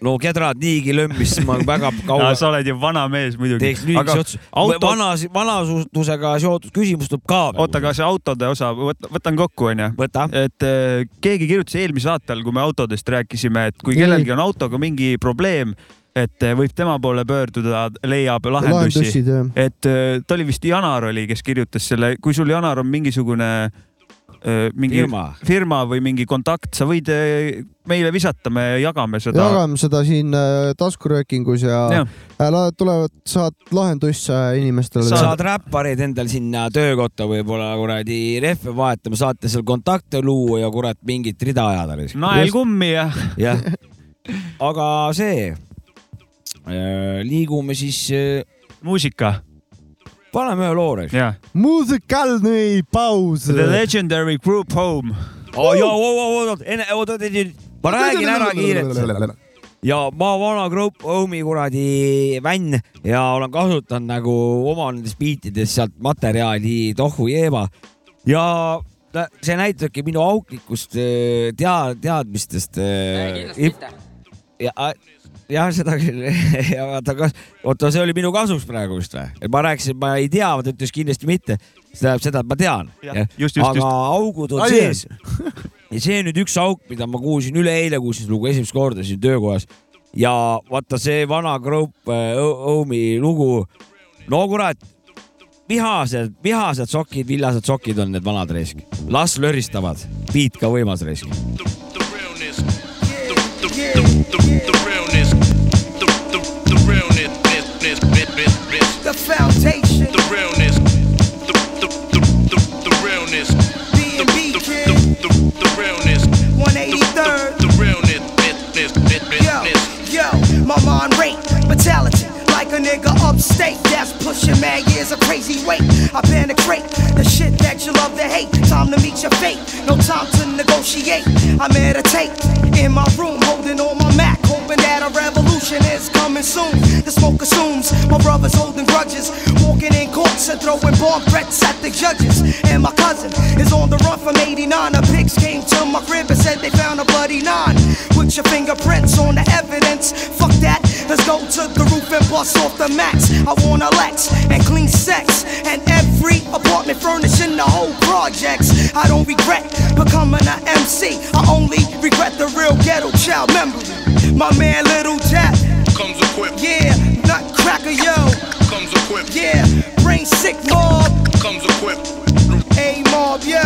Speaker 4: no kedrad niigi lömmis , ma väga kaua
Speaker 3: no, . sa oled ju vana mees muidugi
Speaker 4: teeks . nüüd
Speaker 3: aga
Speaker 4: üks ots- ,
Speaker 3: auto-
Speaker 4: vana , vanastusega seotud küsimus tuleb ka .
Speaker 3: oota , aga see autode osa , võtan kokku , onju .
Speaker 4: võta .
Speaker 3: et eh, keegi kirjutas eelmisel saatel , kui me autodest rääkisime , et kui
Speaker 2: Nii.
Speaker 3: kellelgi on autoga mingi probleem , et eh, võib tema poole pöörduda , leiab lahendusi .
Speaker 2: lahendussid jah .
Speaker 3: et eh, ta oli vist Janar oli , kes kirjutas selle , kui sul Janar on mingisugune eh, mingi
Speaker 4: firma .
Speaker 3: firma või mingi kontakt , sa võid eh, meile visata , me jagame seda .
Speaker 2: jagame seda siin äh, taskuröökingus ja,
Speaker 3: Jah.
Speaker 2: ja la- tulevad , saad lahendusse äh, inimestele .
Speaker 3: Saad-
Speaker 4: saad räppareid endal sinna töökotta võib-olla kuradi rehve vahetama , saate seal kontakte luua ja kurat mingit rida ajada .
Speaker 3: naelkummi ja
Speaker 4: jah , aga see , liigume siis ,
Speaker 3: muusika
Speaker 4: paneme ühe loo .
Speaker 3: ja
Speaker 2: muusikaalne paus .
Speaker 3: The Legendary Group Home .
Speaker 4: oot , enne , oot , oot , oot , ma räägin ära kiirelt . ja ma vana Group Home'i kuradi vänn ja olen kasutanud nagu oma nendes biitides sealt materjali tohu jeeva ja nä- see näitabki minu auklikust öö, tea- , teadmistest . äh,
Speaker 5: kindlasti mitte .
Speaker 4: jah , ja, seda küll , oota , kas , oota , see oli minu kasuks praegu vist või ? et ma rääkisin , ma ei tea , ta ütles kindlasti mitte . see tähendab seda , et ma tean .
Speaker 3: Jah,
Speaker 4: aga
Speaker 3: just, just, just.
Speaker 4: augud on
Speaker 2: Ai,
Speaker 4: sees . ja see nüüd üks auk , mida ma kuulsin üleeile , kuulsin seda lugu esimest korda siin töökojas ja vaata see vana Group äh, Ö- Omi lugu . no kurat , vihased , vihased sokid , villased sokid on need vanad reisk . las löristavad , beat ka võimas reisk .
Speaker 6: the realness. The, the, the, the, the realness. The, the, the realness. This, this, this, this, this.
Speaker 9: The foundation,
Speaker 6: The realness. The, the, the, the, the realness. The,
Speaker 9: B&B
Speaker 6: the, the,
Speaker 9: kid,
Speaker 6: the, the realness. The, the,
Speaker 9: 183rd.
Speaker 6: the realness. This, this, this,
Speaker 9: Yo,
Speaker 6: this, this.
Speaker 9: yo, my mind rate, fatality. Like a nigga upstate, that's pushing mad years of crazy weight. I penetrate the shit that you love to hate. Time to meet your fate, no time to negotiate. I meditate in my room, holding on my Mac, hoping that a revolution is coming soon. The smoke consumes, my brothers holding grudges, walking in courts and throwing bomb threats at the judges. And my cousin is on the run from 89. The pigs came to my crib and said they found a bloody nine. With your fingerprints on the evidence. Fuck that, let's go to the roof and bust off the max. I want a Lex and clean sex. And every apartment furnishing the whole projects. I don't regret becoming an MC. I only regret the real ghetto child memory. My man Little Jack,
Speaker 6: Comes equipped.
Speaker 9: yeah, nutcracker, yo,
Speaker 6: Comes equipped.
Speaker 9: yeah, brain sick mob,
Speaker 6: Comes equipped.
Speaker 9: A mob, yo.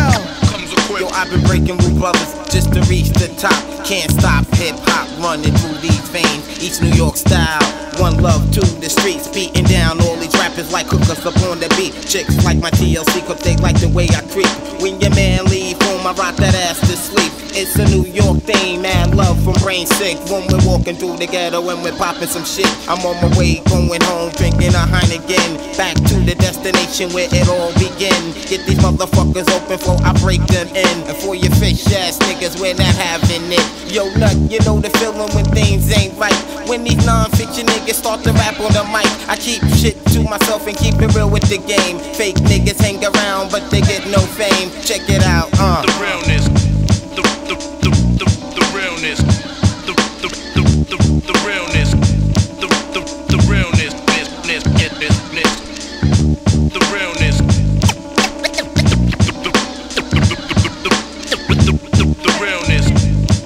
Speaker 6: Comes
Speaker 10: Yo,
Speaker 6: equipped.
Speaker 10: I've been breaking with brothers just to reach the top. Can't stop hip hop running through these veins. Each New York style, one love to the streets. Beating down all these rappers like hookers up on the beat. Chicks like my TLC, cause they like the way I creep. When your man leave home, I rock that ass to sleep. It's a New York thing, man. Love from brain sick. When we're walking through the ghetto and we're popping some shit. I'm on my way going home, drinking a Heineken. Back to the destination where it all began. Get these motherfuckers open before I break them in. And for your fish ass niggas, we're not having it. Yo, nut, you know the feeling when things ain't right. When these non-fiction niggas start to rap on the mic, I keep shit to myself and keep it real with the game. Fake niggas hang around, but they get no fame. Check it out, uh.
Speaker 6: The realness. The, the, the, the, the realness. The, the, the, the, the realness. The, the, the realness. This, this, this, this, this. The realness. The realness.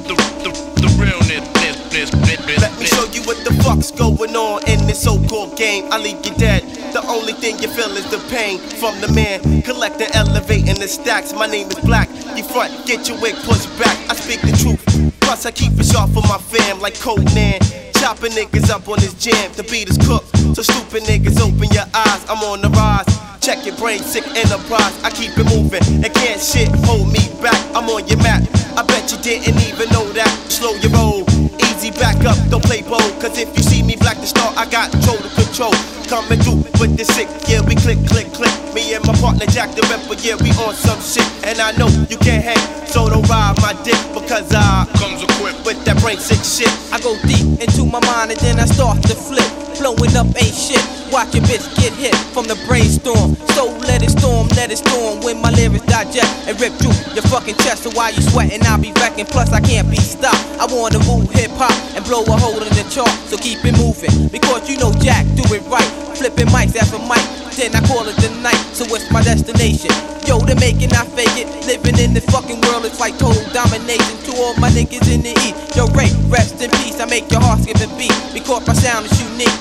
Speaker 6: The, the, the realness. This, this, this, this,
Speaker 10: Let me
Speaker 6: this.
Speaker 10: show you what the fuck's going on in this so-called game. I leave you dead. The only thing you feel is the pain from the man. Collecting, elevating the stacks. My name is Black. You front, get your wig pushed back. I speak the truth. Plus, I keep it sharp for my fam like Conan. Chopping niggas up on this jam. The beat is cooked. So stupid niggas, open your eyes. I'm on the rise. Check your brain, sick enterprise. I keep it moving, and can't shit hold me back. I'm on your map. I bet you didn't even know that. Slow your roll, easy back up, don't play bold. Cause if you see me black the star, I got total control. Coming through with the sick, yeah, we click, click, click. Me and my partner Jack the Ripper, yeah, we on some shit. And I know you can't hang, so don't ride my dick because I
Speaker 6: Comes equipped.
Speaker 10: with that brain sick shit.
Speaker 9: I go deep into my mind and then I start to flip. Blowing up ain't shit. Watch your bitch get hit from the brainstorm. So let it storm, let it storm. When my lyrics digest and rip through your fucking chest. So while you sweating, I'll be wrecking. Plus, I can't be stopped. I wanna move hip hop and blow a hole in the chart. So keep it moving. Because you know Jack do it right. Flipping mics, that's a mic. Then I call it the night, so it's my destination. Yo, they making I fake it. Living in the fucking world, it's like total domination. To all my niggas in the east, yo, Ray, rest in peace. I make your heart skip a beat because my sound is unique.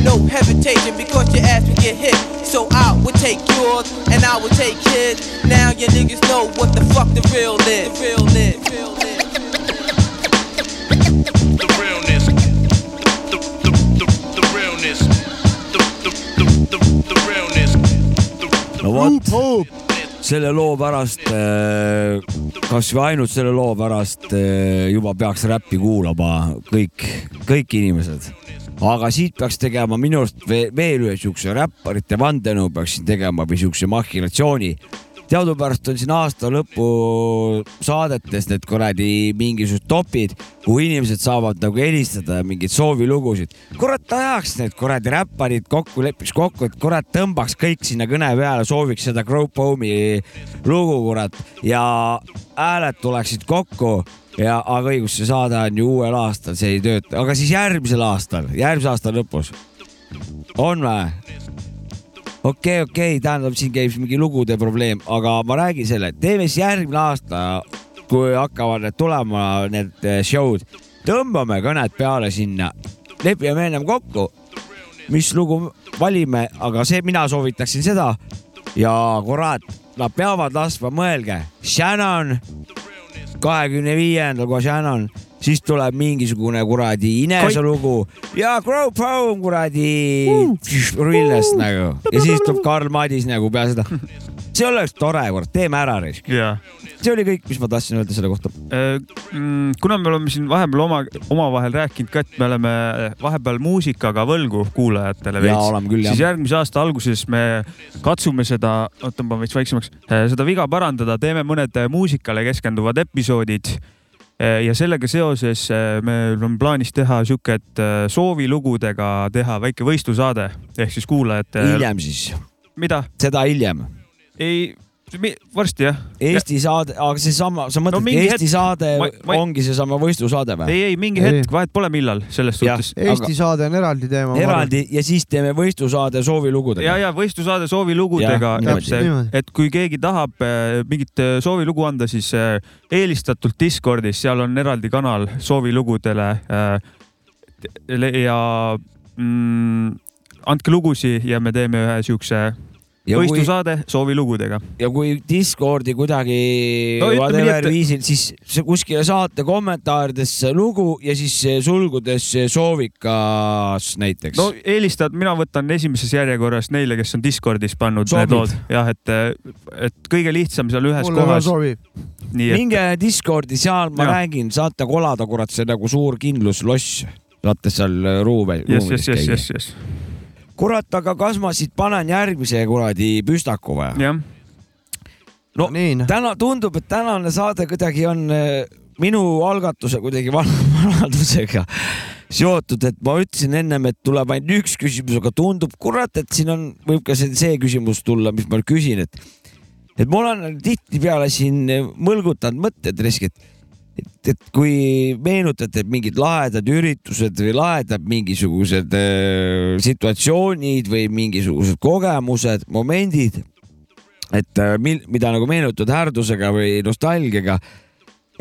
Speaker 9: No hesitation because your ass will get hit. So I will take yours and I will take his. Now your niggas know what the fuck the real is. The real is.
Speaker 6: the realness. The, the, the, the realness. The, the, the, the, the realness. The, the,
Speaker 4: no vot , selle loo pärast , kas või ainult selle loo pärast äh, juba peaks räppi kuulama kõik , kõik inimesed . aga siit peaks tegema minu arust ve- veel ühe siukse räpparite vandenõu peaks siin tegema või siukse mahhinatsiooni . teadupärast on siin aasta lõpu saadetes need kuradi mingisugused topid , kuhu inimesed saavad nagu helistada ja mingeid soovilugusid . kurat ajaks need kuradi räpparid kokku , lepiks kokku , et kurat tõmbaks kõik sinna kõne peale , sooviks seda Group Home'i lugu , kurat , ja hääled tuleksid kokku ja , aga õigus , see saade on ju uuel aastal , see ei tööta , aga siis järgmisel aastal , järgmise aasta lõpus . on või ? okei , okei , tähendab , siin käib siis mingi lugude probleem , aga ma räägin selle , teeme siis järgmine aasta , kui hakkavad need tulema , need eh, show'd , tõmbame kõned peale sinna , lepime ennem kokku , mis lugu valime , aga see , mina soovitaksin seda ja kurat , nad peavad laskma , mõelge , Shannon , kahekümne viiendal kohe Shannon , siis tuleb mingisugune kuradi Inese
Speaker 11: Koit.
Speaker 4: lugu ja Grow Pound kuradi Rillest nagu ja siis tuleb Karl Madis nagu peale seda . see oleks tore kord , teeme ära risk .
Speaker 3: jaa .
Speaker 4: see oli kõik , mis ma tahtsin öelda selle kohta .
Speaker 3: Mm, kuna me oleme siin vahepeal oma , omavahel rääkinud ka , et me oleme vahepeal muusikaga võlgu kuulajatele
Speaker 4: Jaa, oleme küll, jah.
Speaker 3: siis järgmise aasta alguses me katsume seda , oota , ma veits vaiksemaks , seda viga parandada , teeme mõned äh, muusikale keskenduvad episoodid . ja sellega seoses eh, meil on plaanis teha sihuke , et eh, soovilugudega teha väike võistlusaade ehk siis kuulajate .
Speaker 4: hiljem siis .
Speaker 3: mida ?
Speaker 4: seda hiljem .
Speaker 3: ei , varsti jah .
Speaker 4: Eesti saade , aga seesama , sa
Speaker 3: No
Speaker 4: mõtled no, ,
Speaker 3: mingi hetk-
Speaker 4: Eesti hetk. saade
Speaker 3: ma-
Speaker 4: ma,
Speaker 3: ma-
Speaker 4: ma... ongi seesama võistlusaade või ?
Speaker 3: ei , ei mingi hetk , vahet pole , millal selles suhtes .
Speaker 2: Eesti aga... saade on eraldi teema .
Speaker 4: eraldi ja siis teeme võistlusaade soovilugudega .
Speaker 3: ja , ja võistlusaade soovilugudega
Speaker 4: Jah, ,
Speaker 3: et
Speaker 4: täpselt niimoodi. ,
Speaker 3: et kui keegi tahab eh, mingit eh, soovilugu anda , siis eh, eelistatult Discordis , seal on eraldi kanal soovilugudele . ja mm, andke lugusi ja me teeme ühe siukse
Speaker 4: Ja kui-
Speaker 3: võistlusaade soovilugudega .
Speaker 4: ja kui Discordi kuidagi
Speaker 3: No
Speaker 4: no,
Speaker 3: ütleme
Speaker 4: whatever
Speaker 3: nii, et-
Speaker 4: et... viisil , siis sa kuskile saate kommentaaridesse lugu ja siis sulgudes soovikas näiteks
Speaker 3: no eelistad , mina võtan esimeses järjekorras neile , kes on Discordis pannud need
Speaker 4: Sobib.
Speaker 3: lood , jah , et , et kõige lihtsam seal ühes
Speaker 2: Mulle väga
Speaker 3: kohas .
Speaker 2: sobib.
Speaker 3: nii et
Speaker 4: minge Discordi , seal ma
Speaker 3: Jah.
Speaker 4: ja. räägin , saate kolada , kurat , see on nagu suur kindlusloss . saate seal ruume .
Speaker 3: jess , jess , jess , jess , jess .
Speaker 4: kurat , aga kas ma siit panen järgmise kuradi püstaku või ?
Speaker 3: jah .
Speaker 4: no täna tundub , et tänane saade kuidagi on eh, minu algatuse kuidagi van- vanadusega seotud , et ma ütlesin ennem , et tuleb ainult üks küsimus , aga tundub kurat , et siin on , võib ka see, see küsimus tulla , mis ma küsin , et et mul on tihtipeale siin äh, mõlgutanud mõtted , risk , et et, et kui meenutate et mingid lahedad üritused või lahedad mingisugused äh, situatsioonid või mingisugused kogemused , momendid , et äh, mil, mida nagu meenutad härdusega või nostalgiaga .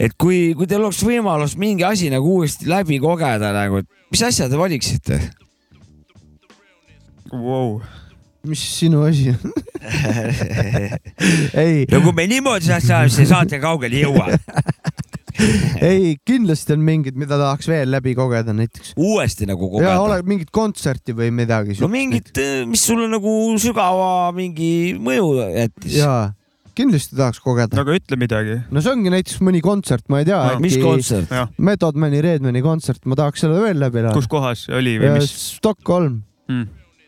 Speaker 4: et kui , kui teil oleks võimalus mingi asi nagu uuesti läbi kogeda nagu , et mis asja te valiksite ?
Speaker 3: wow. .
Speaker 2: mis sinu asi on ? ei ,
Speaker 4: no
Speaker 3: Nagu-
Speaker 4: kui me niimoodi saame , siis see saate kaugele ei jõua .
Speaker 2: ei kindlasti on mingid , mida tahaks veel läbi kogeda näiteks .
Speaker 4: uuesti nagu
Speaker 2: ja
Speaker 4: kogeda .
Speaker 2: ole mingit kontserti või midagi .
Speaker 4: no mingit , mis sulle nagu sügava mingi mõju jättis .
Speaker 2: jaa , kindlasti tahaks kogeda .
Speaker 3: no aga ütle midagi .
Speaker 2: no see ongi näiteks mõni kontsert , ma ei tea
Speaker 3: No,
Speaker 2: no, .
Speaker 3: mis kontsert? Jah.
Speaker 2: Method Mani , Redmani kontsert , ma tahaks selle veel läbi elada Äh,
Speaker 3: kus . kohas oli või mis ?
Speaker 2: Stockholm
Speaker 3: Mm. .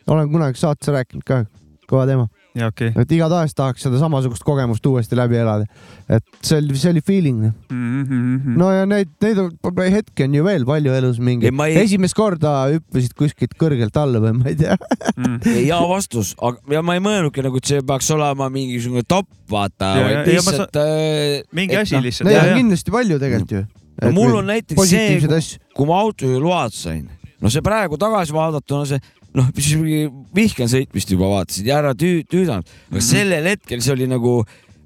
Speaker 2: olen kunagi saates rääkinud ka , kõva teema .
Speaker 3: jaa , okei
Speaker 2: et igatahes tahaks seda samasugust kogemust uuesti läbi elada . et see oli , see oli feeling .
Speaker 3: Mhm, okay. .
Speaker 2: no ja neid , neid on- hetki on ju veel palju elus mingi
Speaker 4: Mm. Ei, ma ei- .
Speaker 2: esimest korda hüppasid kuskilt kõrgelt alla või ma ei tea .
Speaker 4: hea vastus , aga ja ma ei mõelnudki nagu , et see peaks olema mingisugune top , vaata
Speaker 3: Ja, , ja,
Speaker 4: vaid
Speaker 3: ja ma
Speaker 4: lihtsalt . äh, noh,
Speaker 3: mingi asi lihtsalt,
Speaker 2: Neid on kindlasti palju tegelikult ju .
Speaker 4: Mm. no mul on näiteks
Speaker 2: positiivseid
Speaker 4: see
Speaker 2: asju .,
Speaker 4: kui ma autojuhiload sain , no see praegu tagasi vaadatuna see , noh , mis mingi vihkan sõitmist juba vaatasin ja ära tüü- , tüüdanud , aga
Speaker 2: Mhm.
Speaker 4: sellel hetkel see oli nagu ,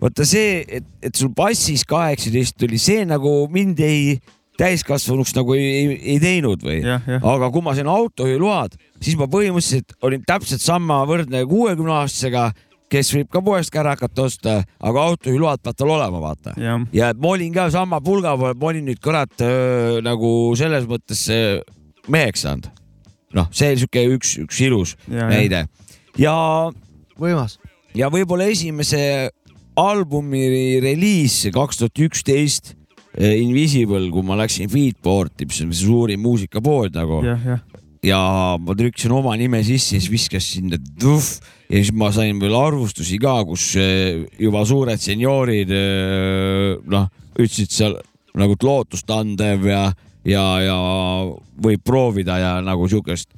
Speaker 4: vaata see , et , et sul passis kaheksateist tuli , see nagu mind ei , täiskasvanuks nagu ei, ei , ei teinud või , aga kui ma sain autojuhiload , siis ma põhimõtteliselt olin täpselt samavõrdne kuuekümne aastasega , kes võib ka poest kärakat osta , aga autojuhiload peab tal olema , vaata
Speaker 3: jah ,
Speaker 4: ja et ma olin ka sama pulga peal , ma olin nüüd kurat öö, nagu selles mõttes öö, meheks saanud . noh , see oli sihuke üks , üks ilus
Speaker 3: Ja, ja.
Speaker 4: ja, näide ja ,
Speaker 2: võimas .
Speaker 4: ja võib-olla esimese albumi reliis kaks tuhat üksteist . Invisible , kui ma läksin Beatporti , mis on suurim muusikapood nagu
Speaker 3: jah , jah .
Speaker 4: ja ma trükkisin oma nime sisse , siis viskas sinna tuhv ja siis ma sain veel arvustusi ka , kus eh, juba suured senioorid eh, noh , ütlesid seal nagu et lootustandev ja , ja , ja võib proovida ja nagu siukest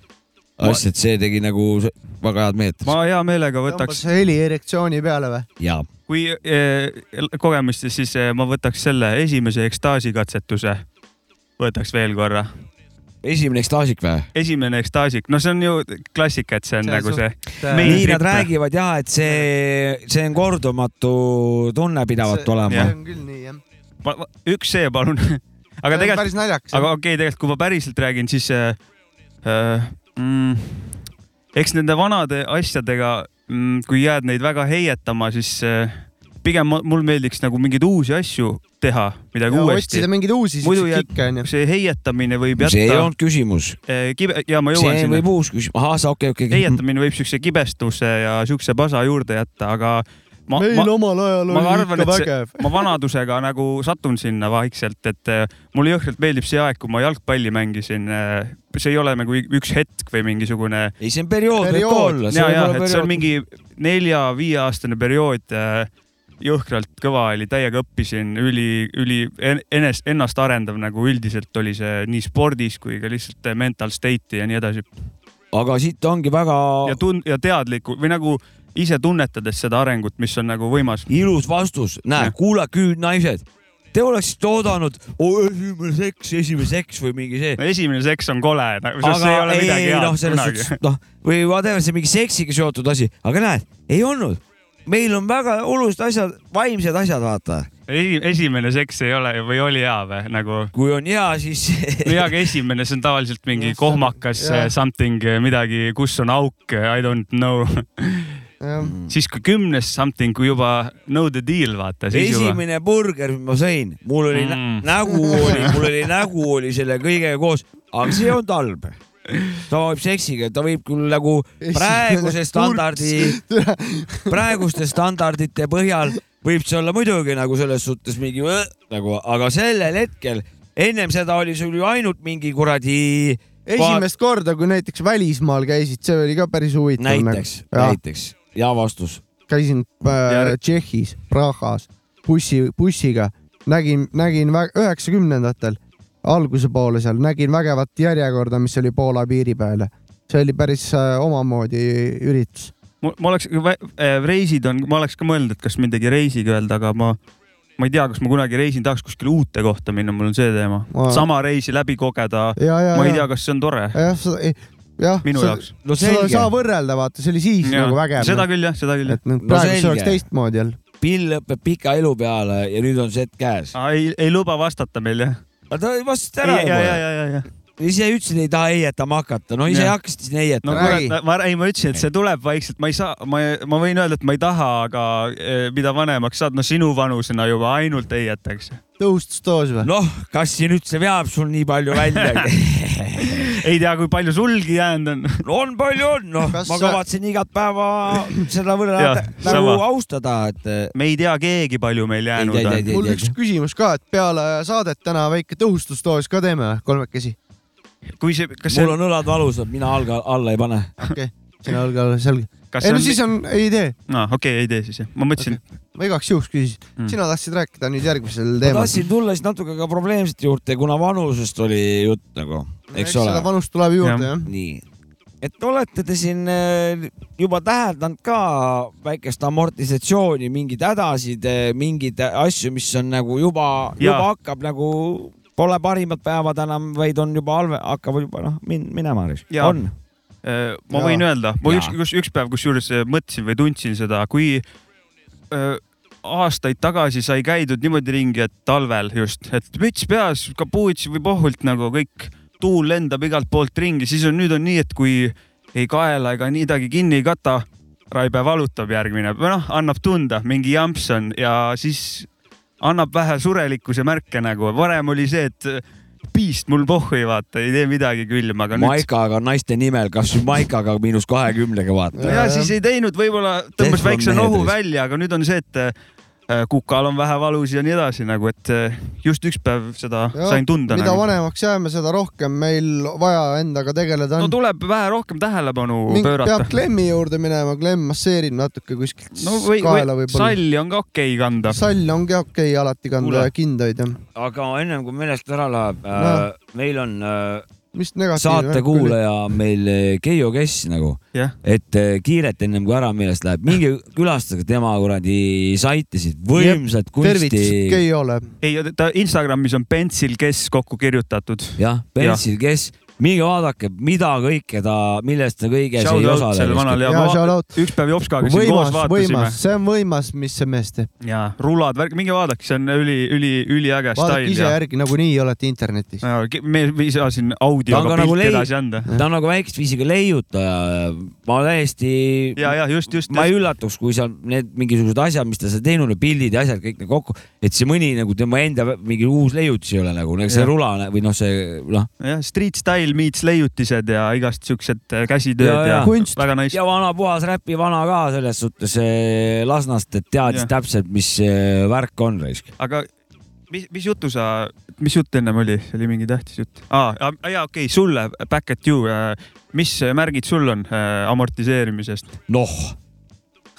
Speaker 3: Ma-
Speaker 4: asja , et see tegi nagu se- väga head meelt
Speaker 3: ma hea meelega
Speaker 2: tõmbas
Speaker 3: võtaks ,
Speaker 2: heli erektsiooni peale või ?
Speaker 4: ja
Speaker 3: kui eh, kogemustest , siis eh, ma võtaks selle esimese ekstaasikatsetuse , võtaks veel korra .
Speaker 4: esimene ekstaasik või ?
Speaker 3: esimene ekstaasik , no see on ju klassika , et see on
Speaker 4: See
Speaker 3: see nagu
Speaker 4: suht-
Speaker 3: see .
Speaker 4: nii nad räägivad jah , et see , see on kordumatu tunne pidavat olema .
Speaker 2: see on küll nii jah .
Speaker 3: üks see palun . aga
Speaker 2: on
Speaker 3: tegelikult
Speaker 2: päris naljakas, , jah.
Speaker 3: aga okei okay, , tegelikult kui ma päriselt räägin , siis äh, äh, mm, eks nende vanade asjadega mm, , kui jääd neid väga heietama , siis äh, pigem ma- mul meeldiks nagu mingeid uusi asju teha , midagi
Speaker 2: Ja
Speaker 3: uuesti .
Speaker 2: otsida mingeid uusi
Speaker 3: muidu
Speaker 2: siukseid
Speaker 3: jääb , see heietamine võib jätta .
Speaker 4: see ei olnud küsimus .
Speaker 3: kibe ja ma jõuan
Speaker 4: see
Speaker 3: sinna .
Speaker 4: võib uus küsimus , ahah , sa okei , okei .
Speaker 3: heietamine võib siukse kibestuse ja siukse pasa juurde jätta , aga ma,
Speaker 2: Meil omal ajal
Speaker 3: ma
Speaker 2: oli
Speaker 3: arvan,
Speaker 2: ikka
Speaker 3: et see-
Speaker 2: vägev.
Speaker 3: ma vanadusega nagu satun sinna vaikselt , et eh, mulle jõhkralt meeldib see aeg , kui ma jalgpalli mängisin . see ei ole nagu ü- üks hetk või mingisugune .
Speaker 4: ei , see on periood , võib ka olla .
Speaker 3: ja , ja , et see on mingi nelja-viieaastane periood eh, jõhkralt kõva oli , täiega õppisin , üli , üli en- enes- , ennast arendav nagu üldiselt oli see nii spordis kui ka lihtsalt eh, mental state'i ja nii edasi .
Speaker 4: aga siit ongi väga
Speaker 3: ja tun- ja teadliku või nagu ise tunnetades seda arengut , mis on nagu võimas .
Speaker 4: ilus vastus , näe , kuula küüd naised . Te oleksite oodanud "Oo, esimene seks , esimene seks või mingi see .
Speaker 3: esimene seks on kole , see ei ole midagi head
Speaker 4: noh , selles
Speaker 3: kunagi.
Speaker 4: suhtes , noh , või whatever , see mingi seksiga seotud asi , aga näed , ei olnud . meil on väga olulised asjad , vaimsed asjad , vaata .
Speaker 3: Esi- esimene seks ei ole või oli hea või nagu ?
Speaker 4: kui on hea , siis
Speaker 3: hea , aga esimene , see on tavaliselt mingi kohmakas
Speaker 4: jah.
Speaker 3: yeah. something , midagi , kus on auk , I don't know . siis kui kümnes something , kui juba know the deal , vaata siis juba .
Speaker 4: esimene burger , mis ma sõin , mul oli mm.
Speaker 3: Mm.
Speaker 4: nägu oli , mul oli nägu oli selle kõigega koos , aga see ei olnud halb . ta võib seksiga , ta võib küll nagu praeguse
Speaker 2: Esimene
Speaker 4: standardi , praeguste standardite põhjal võib see olla muidugi nagu selles suhtes mingi võ- nagu , aga sellel hetkel , ennem seda oli sul ju ainult mingi kuradi
Speaker 2: esimest korda , kui näiteks välismaal käisid , see oli ka päris huvitav . nagu-
Speaker 4: näiteks , näiteks ja vastus .
Speaker 2: käisin äh,
Speaker 4: Jär-
Speaker 2: Tšehhis , Prahas bussi , bussiga , nägin , nägin vä- üheksakümnendatel alguse poole seal nägin vägevat järjekorda , mis oli Poola piiri peal . see oli päris äh, omamoodi üritus .
Speaker 3: ma oleks , reisid on , ma oleks ka mõelnud , et kas midagi reisiga öelda , aga ma , ma ei tea , kas ma kunagi reisin , tahaks kuskile uute kohta minna , mul on see teema
Speaker 2: Ma- .
Speaker 3: sama reisi läbi kogeda ,
Speaker 2: Ja, ja,
Speaker 3: ma ei
Speaker 2: ja.
Speaker 3: tea , kas see on tore .
Speaker 2: jah , jah ,
Speaker 3: Minu
Speaker 2: seda,
Speaker 3: jaoks.
Speaker 4: No
Speaker 2: seda ei
Speaker 4: selge.
Speaker 2: saa võrrelda , vaata , see oli siis ja. nagu vägev .
Speaker 3: seda küll jah , seda küll .
Speaker 2: et nüüd praegu see oleks teistmoodi jälle .
Speaker 4: pill lõpeb pika elu peale ja nüüd on see hetk käes .
Speaker 3: ei , ei luba vastata meil jah ?
Speaker 4: aga ta vastas ära
Speaker 3: Ah. ja , ja , ja , ja , ja .
Speaker 4: ise ütlesid , ei taha heietama hakata , no ise
Speaker 3: Jah.
Speaker 4: hakkasid siis heietama
Speaker 3: no
Speaker 4: no, .
Speaker 3: kurat , ma , ei , ma ütlesin , et see tuleb vaikselt , ma ei saa , ma , ma võin öelda , et ma ei taha , aga eh, mida vanemaks saad , no sinu vanusena juba ainult heietakse .
Speaker 2: tõhustusdoos või ?
Speaker 4: noh , kas siin üldse veab sul nii palju välja ?
Speaker 3: ei tea , kui palju sulgi jäänud on .
Speaker 4: on palju on , noh ,
Speaker 2: Kas
Speaker 4: ma
Speaker 2: sa-
Speaker 4: kavatsen igat päeva seda
Speaker 3: Jah,
Speaker 4: võrra nagu
Speaker 3: sama.
Speaker 4: austada , et
Speaker 3: me ei tea keegi , palju meil jäänud
Speaker 4: ei,
Speaker 3: on .
Speaker 4: ei,
Speaker 2: mul
Speaker 4: ei,
Speaker 2: üks
Speaker 4: ei.
Speaker 2: küsimus ka , et peale saadet täna väike tõhustusdoos ka teeme või , kolmekesi ?
Speaker 3: kui see , kas see
Speaker 4: mul , on õlad valusad , mina alga alla ei pane .
Speaker 2: okei okay. , sina olge alles selge .
Speaker 3: kas
Speaker 2: ei
Speaker 3: see
Speaker 2: no
Speaker 3: on
Speaker 2: siis on , ei tee
Speaker 3: no, , okei okay, , ei tee siis jah , ma mõtlesin okay. ,
Speaker 2: ma igaks juhuks küsisin mm. , sina tahtsid rääkida nüüd järgmisel teemal .
Speaker 4: tahtsin tulla siis natuke ka probleemsete juurde , kuna vanusest oli jutt nagu , eks
Speaker 2: seda
Speaker 4: ole .
Speaker 2: vanust tuleb juurde
Speaker 3: Jah.
Speaker 2: jah ja. .
Speaker 4: nii , et olete te siin äh, juba täheldanud ka väikest amortisatsiooni , mingeid hädasid , mingeid asju , mis on nagu juba ,
Speaker 3: Jaa.
Speaker 4: juba hakkab nagu , pole parimad päevad enam , vaid on juba halve , hakkab juba noh min, , minema ,
Speaker 3: Jaa.
Speaker 4: on .
Speaker 3: Äh, ma võin öelda , ma
Speaker 4: Jaa.
Speaker 3: üks , üks , üks päev kusjuures äh, mõtlesin või tundsin seda , kui öö, aastaid tagasi sai käidud niimoodi ringi , et talvel just , et müts peas , kapuuts või pohult nagu kõik , tuul lendab igalt poolt ringi , siis on nüüd on nii , et kui ei kaela ega midagi kinni ei kata , raibe valutab järgmine , noh , annab tunda , mingi jamps on ja siis annab vähe surelikkuse märke nagu , varem oli see , et äh, piist mul pohhu ei vaata , ei tee midagi külma , aga nüüd
Speaker 4: Maikaga naiste nimel , kas või Maikaga miinus kahekümnega vaata .
Speaker 3: ja siis ei teinud , võib-olla tõmbas
Speaker 4: Tehva
Speaker 3: väikse
Speaker 4: mehed
Speaker 3: nohu
Speaker 4: vist.
Speaker 3: välja , aga nüüd on see , et äh, kukal on vähe valus ja nii edasi nagu , et äh, just üks päev seda ja, sain tunda .
Speaker 2: mida
Speaker 3: Nagu.
Speaker 2: vanemaks jääme , seda rohkem meil vaja endaga tegeleda
Speaker 3: no
Speaker 2: on .
Speaker 3: tuleb vähe rohkem tähelepanu
Speaker 2: Mingi peab
Speaker 3: pöörata .
Speaker 2: klemmi juurde minema , klemm masseerib natuke kuskilt
Speaker 3: no või,
Speaker 2: kaela
Speaker 3: või
Speaker 2: võib-olla .
Speaker 3: salli on ka okei okay kanda .
Speaker 2: sall ongi okei okay, alati kanda
Speaker 3: Kuule.
Speaker 2: ja kindaid jah .
Speaker 4: aga ennem kui meelest ära läheb
Speaker 2: No. ,
Speaker 4: meil on äh,
Speaker 2: mis negatiivne .
Speaker 4: saatekuulaja meil eh, Keijo Kess nagu
Speaker 3: jah ,
Speaker 4: et eh, kiirelt ennem kui ära meelest läheb , minge külastage tema kuradi saitesid , võimsat
Speaker 2: tervitused
Speaker 4: kunsti .
Speaker 2: Keiole .
Speaker 3: ei ta Instagramis on Pentsil Kes kokku kirjutatud .
Speaker 4: jah , Pensil , kes minge vaadake , mida kõike ta , millest ta kõiges ei
Speaker 3: Shout out sellele vanale ja
Speaker 4: osale .
Speaker 2: Jaa, shout
Speaker 3: ma
Speaker 2: out.
Speaker 3: üks päev Jopskaga siin koos
Speaker 2: võimas ,
Speaker 3: vaatasime
Speaker 2: võimas , see on võimas , mis see mees teeb .
Speaker 3: ja rulad , värk , minge vaadake , see on üli , üli , üliäge
Speaker 2: vaadake
Speaker 3: stail
Speaker 2: ise
Speaker 3: ja Äh,
Speaker 2: järgi , nagunii olete internetis .
Speaker 3: ja ki- me me ei saa siin
Speaker 4: ta on
Speaker 3: audioga
Speaker 4: ka nagu
Speaker 3: pilti
Speaker 4: lei- ,
Speaker 3: edasi anda .
Speaker 4: ta on nagu väikest viisi ka leiutaja . ma täiesti ,
Speaker 3: ja , ja just , just .
Speaker 4: ma ei üllatuks , kui seal need mingisugused asjad , mis ta seal teinud on , pildid ja asjad kõik nagu kokku , et see mõni nagu tema enda vä- mingi uus leiutis ei ole nagu , see
Speaker 3: Jah.
Speaker 4: rula nä- või noh , see noh ,
Speaker 3: jah , street style meets leiutised ja igast siuksed äh, käsitööd
Speaker 4: Ja,
Speaker 3: ja,
Speaker 4: ja.
Speaker 3: ja.
Speaker 2: Kunst.
Speaker 3: väga nice .
Speaker 4: ja vana puhas räpi vana ka selles suhtes eh, Lasnast , et teadis
Speaker 3: Jah.
Speaker 4: täpselt , mis eh, värk on raisk .
Speaker 3: aga mis , mis jutu sa , mis jutt ennem oli , see oli mingi tähtis jutt ah, . aa , jaa , okei okay, , sulle , back at you , mis märgid sul on äh, amortiseerimisest ?
Speaker 4: noh ,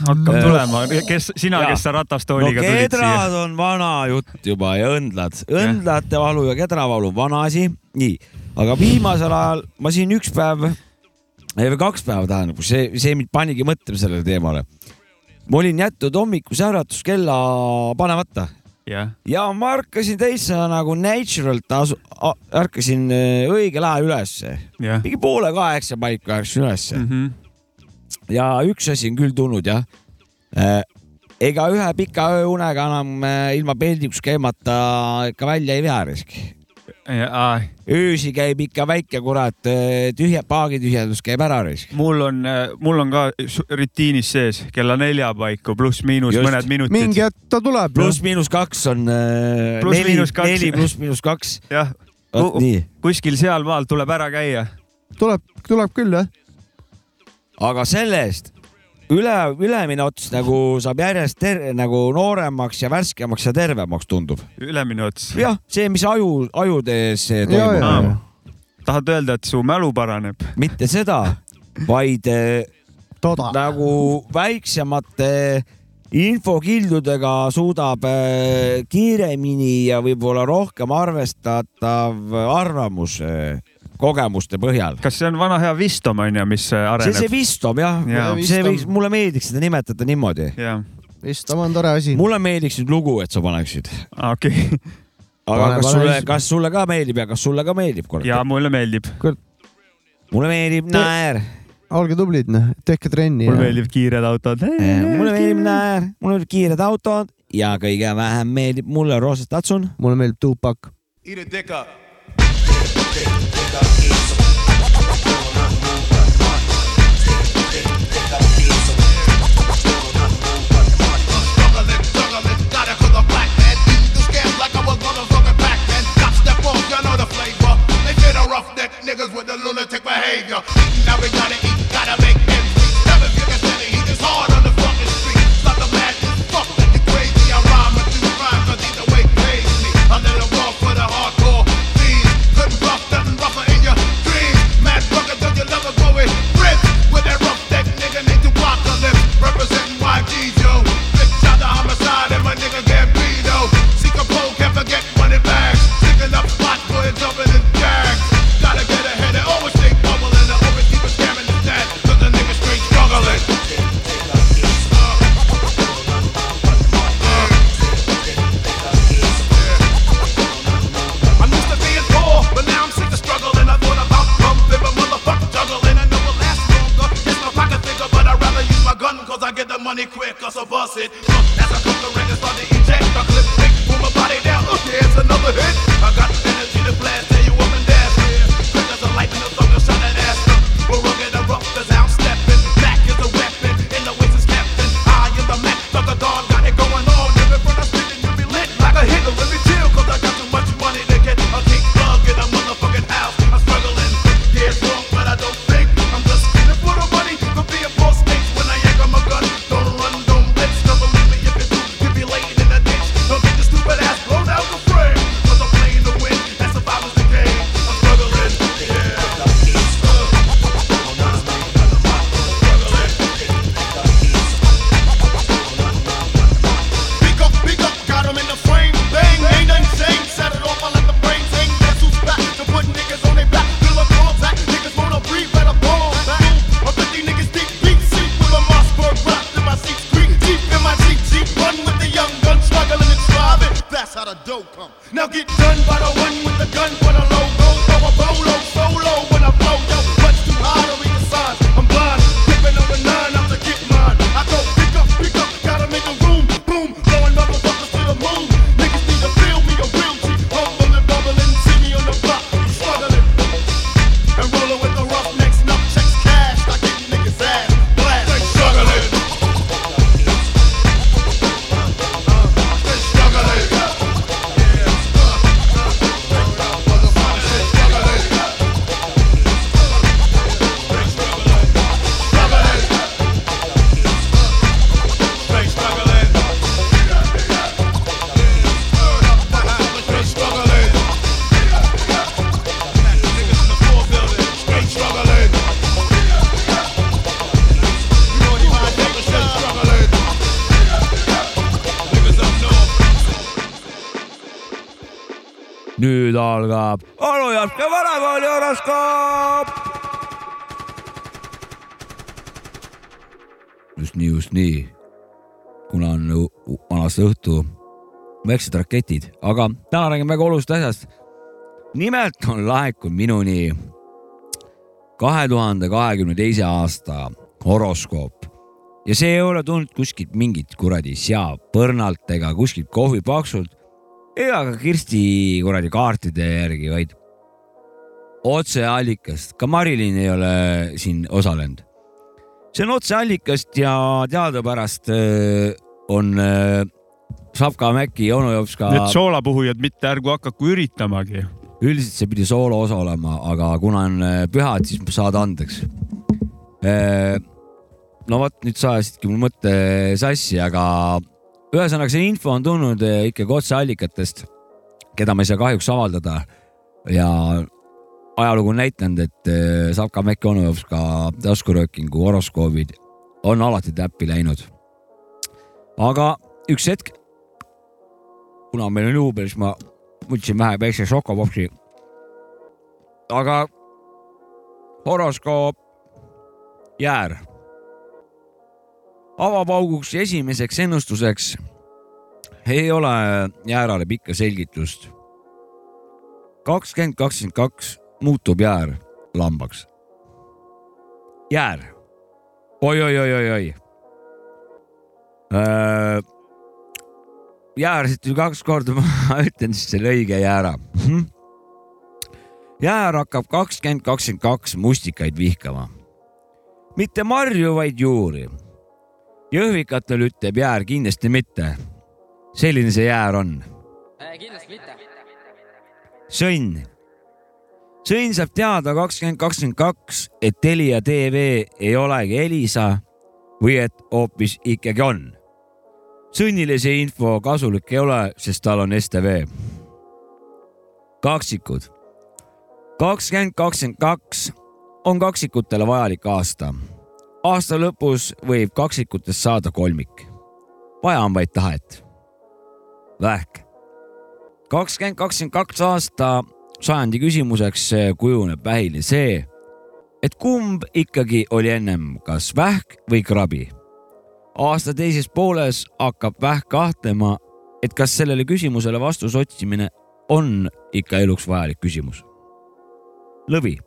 Speaker 3: hakkab
Speaker 4: Eh,
Speaker 3: tulema , kes , sina ,
Speaker 4: jaa.
Speaker 3: kes sa
Speaker 4: no
Speaker 3: ratastooliga tulid siia .
Speaker 4: kedrad on vana jutt juba ja õndlad , õndlate valu ja kedravalu on vana asi , nii , aga viimasel ajal ma siin üks päev eh, või kaks päeva tähendab , see , see mind panigi mõtlema sellele teemale . ma olin jätnud hommikuse äratuskella panemata
Speaker 3: jah ,
Speaker 4: ja ma ärkasin täitsa nagu naturalt asu- , ärkasin eh, õigel ajal ülesse ,
Speaker 3: jah . Mhm.
Speaker 4: mingi poole kaheksa paiku ärkasin ülesse . ja üks asi on küll tulnud jah . ega ühe pika ööunega enam eh, ilma peldikus käimata ikka välja ei vea risk . öösi käib ikka väike kurat , tühja , paagitühjendus käib ära risk .
Speaker 3: mul on , mul on ka su- rutiinis sees kella nelja paiku pluss-miinus
Speaker 4: Just.
Speaker 3: mõned minutid
Speaker 2: mingi . hetk ta tuleb .
Speaker 4: pluss-miinus kaks on eh,
Speaker 3: Pluss,
Speaker 4: neli
Speaker 3: miinus , kaks. Uh-uh.
Speaker 4: neli pluss-miinus kaks .
Speaker 3: jah ,
Speaker 4: vot
Speaker 3: Kuhu-
Speaker 4: nii .
Speaker 3: kuskil sealmaal tuleb ära käia .
Speaker 2: tuleb , tuleb küll jah .
Speaker 4: aga sellest üle , ülemine ots nagu saab järjest ter- nagu nooremaks ja värskemaks ja tervemaks tundub .
Speaker 3: ülemine ots .
Speaker 4: jah , see , mis aju , ajudes eh,
Speaker 2: ja ,
Speaker 4: toimub .
Speaker 2: ja , ja
Speaker 3: tahad öelda , et su mälu paraneb ?
Speaker 4: mitte seda , vaid eh,
Speaker 2: toda .
Speaker 4: nagu väiksemate infokildudega suudab eh, kiiremini ja võib-olla rohkem arvestatav arvamus eh, kogemuste põhjal .
Speaker 3: kas see on vana hea Vistom onju , mis
Speaker 4: see , see
Speaker 3: areneb ?
Speaker 4: Vistom jah ja.
Speaker 3: Jaa. ,
Speaker 4: see võiks , mulle meeldiks seda nimetada niimoodi .
Speaker 3: jah ,
Speaker 2: Istam on tore asi .
Speaker 4: mulle meeldiks nüüd lugu , et sa paneksid ,
Speaker 3: Ah, okei okay. ,
Speaker 4: aga
Speaker 2: Pane-
Speaker 4: kas
Speaker 2: pane
Speaker 4: sulle
Speaker 2: siis- ,
Speaker 4: kas sulle ka meeldib ja kas sulle ka meeldib ,
Speaker 3: ja
Speaker 4: kurat ?
Speaker 3: mulle meeldib ,
Speaker 4: mulle meeldib naer ,
Speaker 2: olge tublid , noh , tehke trenni .
Speaker 3: mulle meeldib kiired autod .
Speaker 4: mulle meeldib naer , mulle meeldib kiired autod ja kõige vähem meeldib mulle roosas tatsun
Speaker 2: mulle meeldib Tupac .
Speaker 6: Eat a dick up. Niggas with the lunatic behavior. Now we gotta eat, gotta make ends meet. Never get a steady heat, it's hard on the fucking street. Stop the madness, fuck with the crazy. I rhyme with you rhyme, cause either way pays me. A little more for the hardcore fiends. Couldn't bluff nothing rougher in your dreams. Mad fucker, don't you love a boy? Rip with that rough deck nigga named Apocalypse. Representing YG Joe. Bitch, shout the homicide and my nigga Gambino. Seek a pole, can't forget money bags. Sticking up spots for his jumping and jags. Gotta get ahead and always stay bubble and always keep a scamming the
Speaker 4: nüüd algab Anu Jaske vanakooli horoskoop . just nii , just nii . kuna on ju vanasse õhtu , väiksed raketid , aga täna räägime väga olulisest asjast . nimelt on laekunud minuni kahe tuhande kahekümne teise aasta horoskoop ja see ei ole tulnud kuskilt mingit kuradi seapõrnalt ega kuskilt kohvipaksult ega ka Kirsti kuradi kaartide järgi , vaid otseallikast . ka Marilyn ei ole siin osalenud . see on otseallikast ja teadupärast öö, on öö, Savka Mäki , Onu Jops ka
Speaker 3: Need soolapuhujad , mitte ärgu hakaku üritamagi .
Speaker 4: üldiselt see pidi sooloosa olema , aga kuna on äh, pühad , siis saad andeks . no vot , nüüd sa ajasidki mu mõtte sassi , aga ühesõnaga see info on tulnud äh, ikkagi otseallikatest , keda ma ei saa kahjuks avaldada ja ajalugu on näidanud , et äh, Savka Mäkki Onujovska taskuröökingu horoskoobid on alati täppi läinud . aga üks hetk , kuna meil on juubel , siis ma võtsin vähe väikse šokopopsi . aga horoskoop jäär . avapauguks ja esimeseks ennustuseks ei ole jäärale pikka selgitust . kakskümmend kakskümmend kaks muutub jäär lambaks . jäär oi, , Äh, oi-oi-oi-oi . jäärasid ju kaks korda , ma ütlen siis selle õige jäära . jäär hakkab kakskümmend , kakskümmend kaks mustikaid vihkama . mitte marju , vaid juuri . jõhvikatel ütleb jäär kindlasti mitte . selline see jäär on .
Speaker 5: kindlasti mitte .
Speaker 4: sõnn . sõnn saab teada kakskümmend , kakskümmend kaks , et Telia tv ei olegi Elisa või et hoopis ikkagi on . sõnnile see info kasulik ei ole , sest tal on STV . kaksikud . kakskümmend , kakskümmend kaks on kaksikutele vajalik aasta . aasta lõpus võib kaksikutest saada kolmik . vaja on vaid tahet . Vähk kakskümmend , kakskümmend kaks aasta sajandi küsimuseks kujuneb vähili see , et kumb ikkagi oli ennem , kas vähk või krabi . aasta teises pooles hakkab vähk kahtlema , et kas sellele küsimusele vastuse otsimine on ikka eluks vajalik küsimus . lõvi .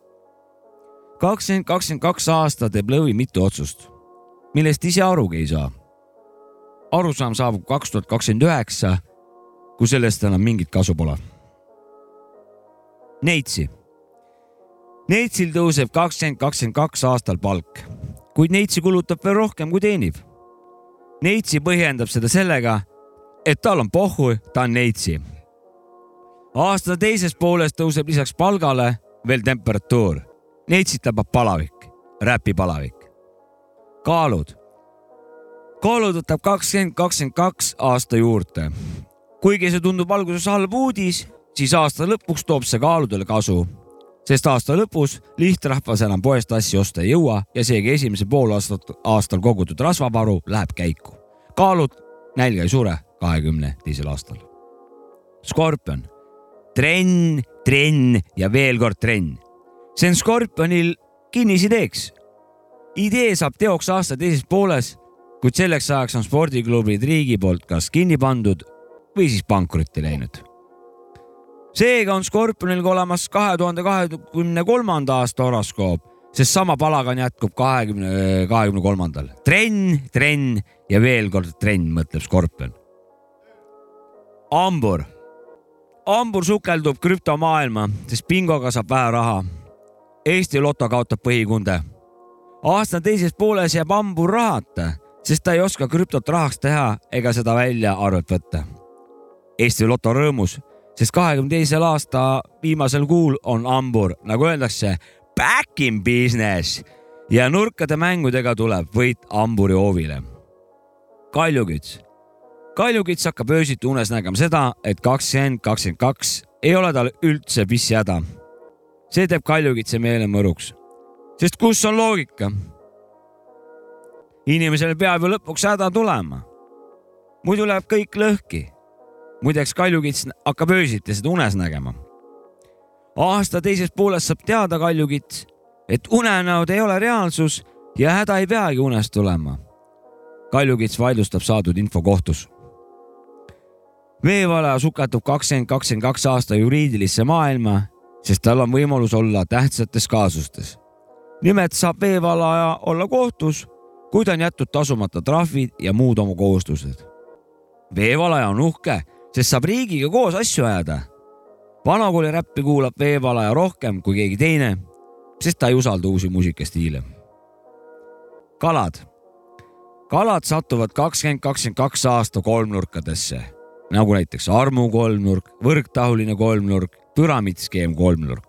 Speaker 4: kakskümmend , kakskümmend kaks aasta teeb lõvi mitu otsust , millest ise arugi ei saa . arusaam saabub kaks tuhat kakskümmend üheksa kui sellest enam mingit kasu pole . Neitsi . Neitsil tõuseb kakskümmend , kakskümmend kaks aastal palk , kuid Neitsi kulutab veel rohkem , kui teenib . Neitsi põhjendab seda sellega , et tal on pohhu , ta on Neitsi . aasta teises pooles tõuseb lisaks palgale veel temperatuur . Neitsit tabab palavik , räpipalavik . kaalud . kaalud võtab kakskümmend , kakskümmend kaks aasta juurde kuigi see tundub alguses halb uudis , siis aasta lõpuks toob see kaaludele kasu , sest aasta lõpus lihtrahvas enam poest asju osta ei jõua ja seegi esimese poolaastat aastal kogutud rasvavaru läheb käiku . kaalud nälga ei sure kahekümne teisel aastal . skorpion , trenn , trenn ja veel kord trenn . see on skorpionil kinnisideeks . idee saab teoks aasta teises pooles , kuid selleks ajaks on spordiklubid riigi poolt kas kinni pandud või siis pankrotti läinud . seega on Skorpionil ka olemas kahe tuhande kahekümne kolmanda aasta horoskoop , sest sama palagan jätkub kahekümne , kahekümne kolmandal . trenn , trenn ja veel kord trenn , mõtleb Skorpion . hambur , hambur sukeldub krüptomaailma , sest bingoga saab vähe raha . Eesti Loto kaotab põhikunde . aasta teises pooles jääb hambur rahata , sest ta ei oska krüptot rahaks teha ega seda välja arvet võtta Eesti Loto rõõmus , sest kahekümne teisel aasta viimasel kuul on hambur , nagu öeldakse , back in business ja nurkade mängudega tuleb võit hamburi hoovile . kaljuküts , kaljuküts hakkab öösiti unes nägema seda , et kakskümmend , kakskümmend kaks ei ole tal üldse pissihäda . see teeb kaljukitse meele mõruks , sest kus on loogika ? inimesel peab ju lõpuks häda tulema , muidu läheb kõik lõhki muideks Kaljukits hakkab öösiti seda unes nägema . aasta teises pooles saab teada Kaljukits , et unenäod ei ole reaalsus ja häda ei peagi unest tulema . Kaljukits vaidlustab saadud info kohtus . veevalaja sukeldub kakskümmend , kakskümmend kaks aasta juriidilisse maailma , sest tal on võimalus olla tähtsates kaasustes . nimelt saab veevalaja olla kohtus , kui ta on jätnud tasumata trahvid ja muud oma kohustused . veevalaja on uhke , sest saab riigiga koos asju ajada . vanakooli räppi kuulab veevalaja rohkem kui keegi teine , sest ta ei usalda uusi muusikastiile . kalad . kalad satuvad kakskümmend , kakskümmend kaks aasta kolmnurkadesse , nagu näiteks armu kolmnurk , võrktahuline kolmnurk , püramiidskeem kolmnurk .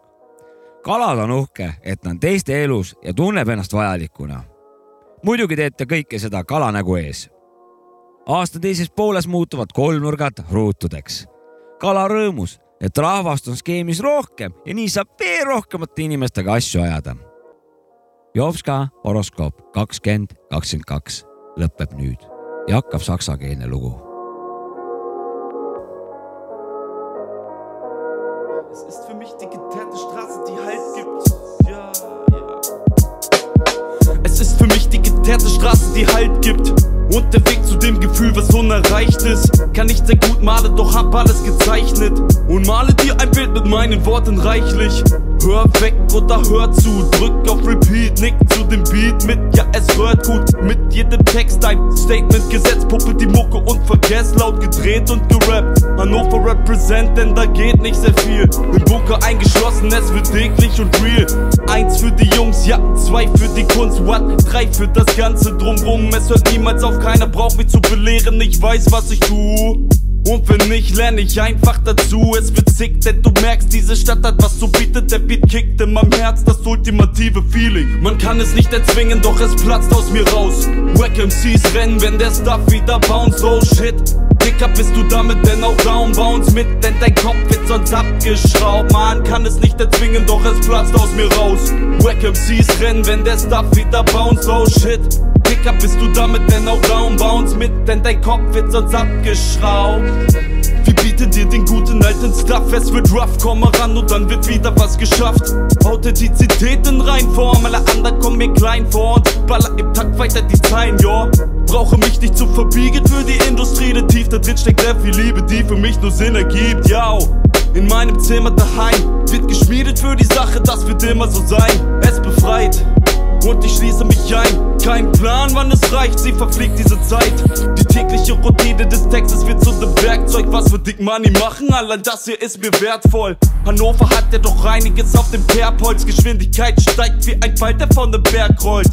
Speaker 4: kalad on uhke , et ta on teiste elus ja tunneb ennast vajalikuna . muidugi teete kõike seda kalanägu ees aasta teises pooles muutuvad kolmnurgad ruutudeks . kala rõõmus , et rahvast on skeemis rohkem ja nii saab veel rohkemate inimestega asju ajada . Jovska horoskoop kakskümmend kakskümmend kaks lõpeb nüüd ja hakkab saksakeelne lugu .
Speaker 11: Es ist für mich die geteerte Straße, die Halt gibt. Ja, ja. Es ist für mich die geteerte Straße, die Halt gibt. Und der Weg zu dem Gefühl, was unerreicht ist. Kann nicht sehr gut malen, doch hab alles gezeichnet. Und male dir ein Bild mit meinen Worten reichlich. Hör weg oder hör zu, drück auf Repeat, nick zu dem Beat mit. Ja, es hört gut mit jedem Text ein Statement gesetzt, puppe die Mucke und vergess laut gedreht und gerappt. Hannover represent, denn da geht nicht sehr viel. Im Bunker eingeschlossen, es wird täglich und real. Eins für die Jungs, ja, zwei für die Kunst, what? Drei für das Ganze drumrum. Es hört niemals auf, keiner braucht mich zu belehren, ich weiß, was ich tu. Und wenn nicht, lerne ich einfach dazu. Es wird sick, denn du merkst, diese Stadt hat was zu bieten. Der Beat kickt in meinem Herz das ultimative Feeling. Man kann es nicht erzwingen, doch es platzt aus mir raus. Wack MCs rennen, wenn der Stuff wieder bounce. Oh shit, Dicker bist du damit denn auch down, bounce mit. Denn dein Kopf wird sonst abgeschraubt. Man kann es nicht erzwingen, doch es platzt aus mir raus. Wack MCs rennen, wenn der Stuff wieder bounce. Oh shit, Dicker bist du damit denn auch down, bounce mit. Denn dein Kopf wird sonst abgeschraubt. Wir bieten dir den guten alten Stuff, es wird rough, komm mal ran und dann wird wieder was geschafft. Authentizität in Reinform, alle anderen kommen mir klein vor und baller im Takt weiter die Zeilen, ja. Brauche mich nicht zu verbiegen für die Industrie, denn tief da drin steckt sehr viel Liebe, die für mich nur Sinn ergibt, ja. In meinem Zimmer daheim wird geschmiedet für die Sache, das wird immer so sein. Es befreit und ich schließe mich ein. Kein Plan, wann es reicht, sie verfliegt diese Zeit. Die tägliche Routine des Textes wird zu dem Werkzeug, was wir Dick Money machen. Allein das hier ist mir wertvoll. Hannover hat ja doch einiges auf dem Kerbholz. Geschwindigkeit steigt wie ein Falter von dem Berg rollt.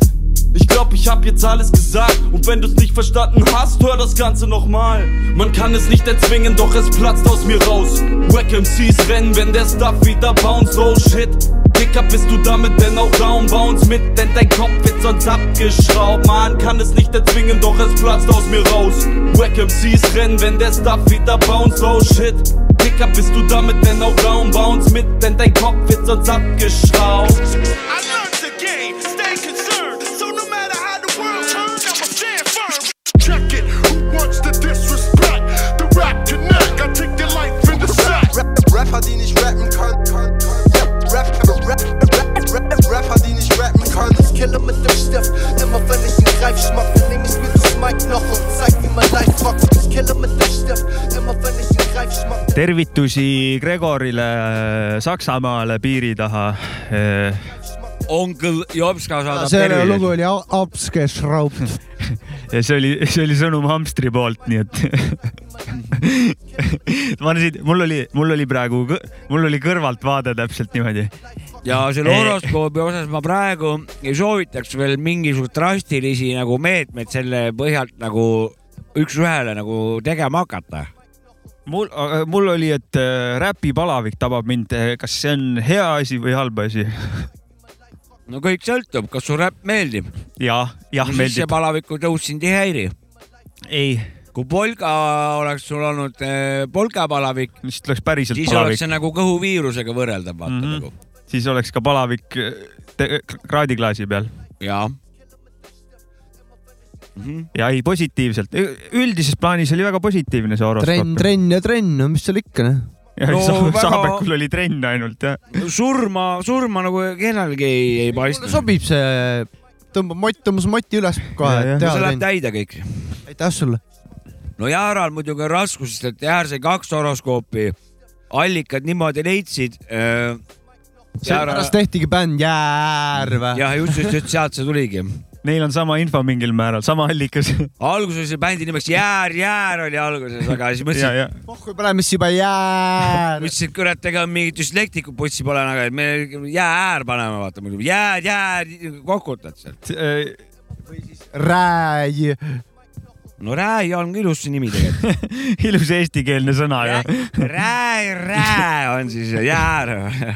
Speaker 11: Ich glaub, ich hab jetzt alles gesagt. Und wenn du's nicht verstanden hast, hör das Ganze nochmal. Man kann es nicht erzwingen, doch es platzt aus mir raus. Wack MCs rennen, wenn der Stuff wieder bounce. Oh shit, Dicker bist du damit denn auch down, bounce mit. Denn dein Kopf wird sonst abgeschraubt. Man kann es nicht erzwingen, doch es platzt aus mir raus. Wack MCs rennen, wenn der Stuff wieder bounce. Oh shit, Dicker bist du damit denn auch down, bounce mit. Denn dein Kopf wird sonst abgeschraubt.
Speaker 12: Rapper, die nicht rappen können. können- können. Rap, rap, rap, rap, Rapper, die nicht rappen können. Ich kille mit dem Stift. Immer wenn ich einen Greif schmack, dann nehm ich mir das Mic noch und zeig, wie man live fuckt. Ich kille mit dem Stift. Immer wenn ich einen Greif schmack.
Speaker 3: tervitusi Gregorile Saksamaale piiri taha . Eh,
Speaker 4: on küll , Jopska saadab
Speaker 2: see lugu . oli au- abgeschraubt .
Speaker 3: ja see oli , see oli sõnum hamstri poolt , nii et ma siin , mul oli , mul oli praegu , mul oli kõrvalt vaade täpselt niimoodi .
Speaker 4: ja selle horoskoobi osas ma praegu ei soovitaks veel mingisuguseid drastilisi nagu meetmeid selle põhjalt nagu üks-ühele nagu tegema hakata .
Speaker 3: mul , mul oli , et äh, räpipalavik tabab mind , kas see on hea asi või halb asi ?
Speaker 4: no kõik sõltub , kas su räpp meeldib .
Speaker 3: ja , jah
Speaker 4: no, siis see
Speaker 3: Ah, meeldib .
Speaker 4: palaviku tõus sind ei häiri .
Speaker 3: ei .
Speaker 4: kui polka oleks sul olnud eh, polkapalavik ,
Speaker 3: siis oleks päriselt
Speaker 4: siis
Speaker 3: palavik.
Speaker 4: oleks see nagu kõhuviirusega võrreldav , vaata mm -hmm.
Speaker 3: nagu . siis oleks ka palavik äh, te- kraadiklaasi peal .
Speaker 4: ja .
Speaker 3: ja ei positiivselt , üldises plaanis oli väga positiivne see horoskoop .
Speaker 2: trenn , trenn ja trenn , no mis seal ikka noh .
Speaker 3: ja no, Saab, väga... Saabekul oli trenn ainult jah .
Speaker 4: surma , surma nagu kellelgi ei , ei paista .
Speaker 2: sobib see , tõmbab mott , tõmbas moti üles kohe .
Speaker 4: see läheb täide kõik .
Speaker 2: aitäh sulle .
Speaker 4: no Jaaral muidugi on raskus , sest et Jaar sai kaks horoskoopi , allikad niimoodi leidsid . äh,
Speaker 2: sellepärast tehtigi bänd Järv .
Speaker 4: jah , just , just , just sealt see tuligi .
Speaker 3: Neil on sama info mingil määral , sama allikas .
Speaker 4: alguses oli bändi nimeks Jäär , Jäär oli alguses , aga siis
Speaker 3: Ja, ja.
Speaker 4: mõtlesin ,
Speaker 2: oh kui põleme siis juba Järv .
Speaker 4: mõtlesin , et kurat , ega mingit düslektiku putsi pole , aga et me Jäär paneme , vaata muidu Jäär , Jäär , kokutad sealt .
Speaker 2: Rääi .
Speaker 4: no Rääi on ka ilus nimi tegelikult .
Speaker 3: ilus eestikeelne sõna ja .
Speaker 4: Rääi , Rää on siis Jäär .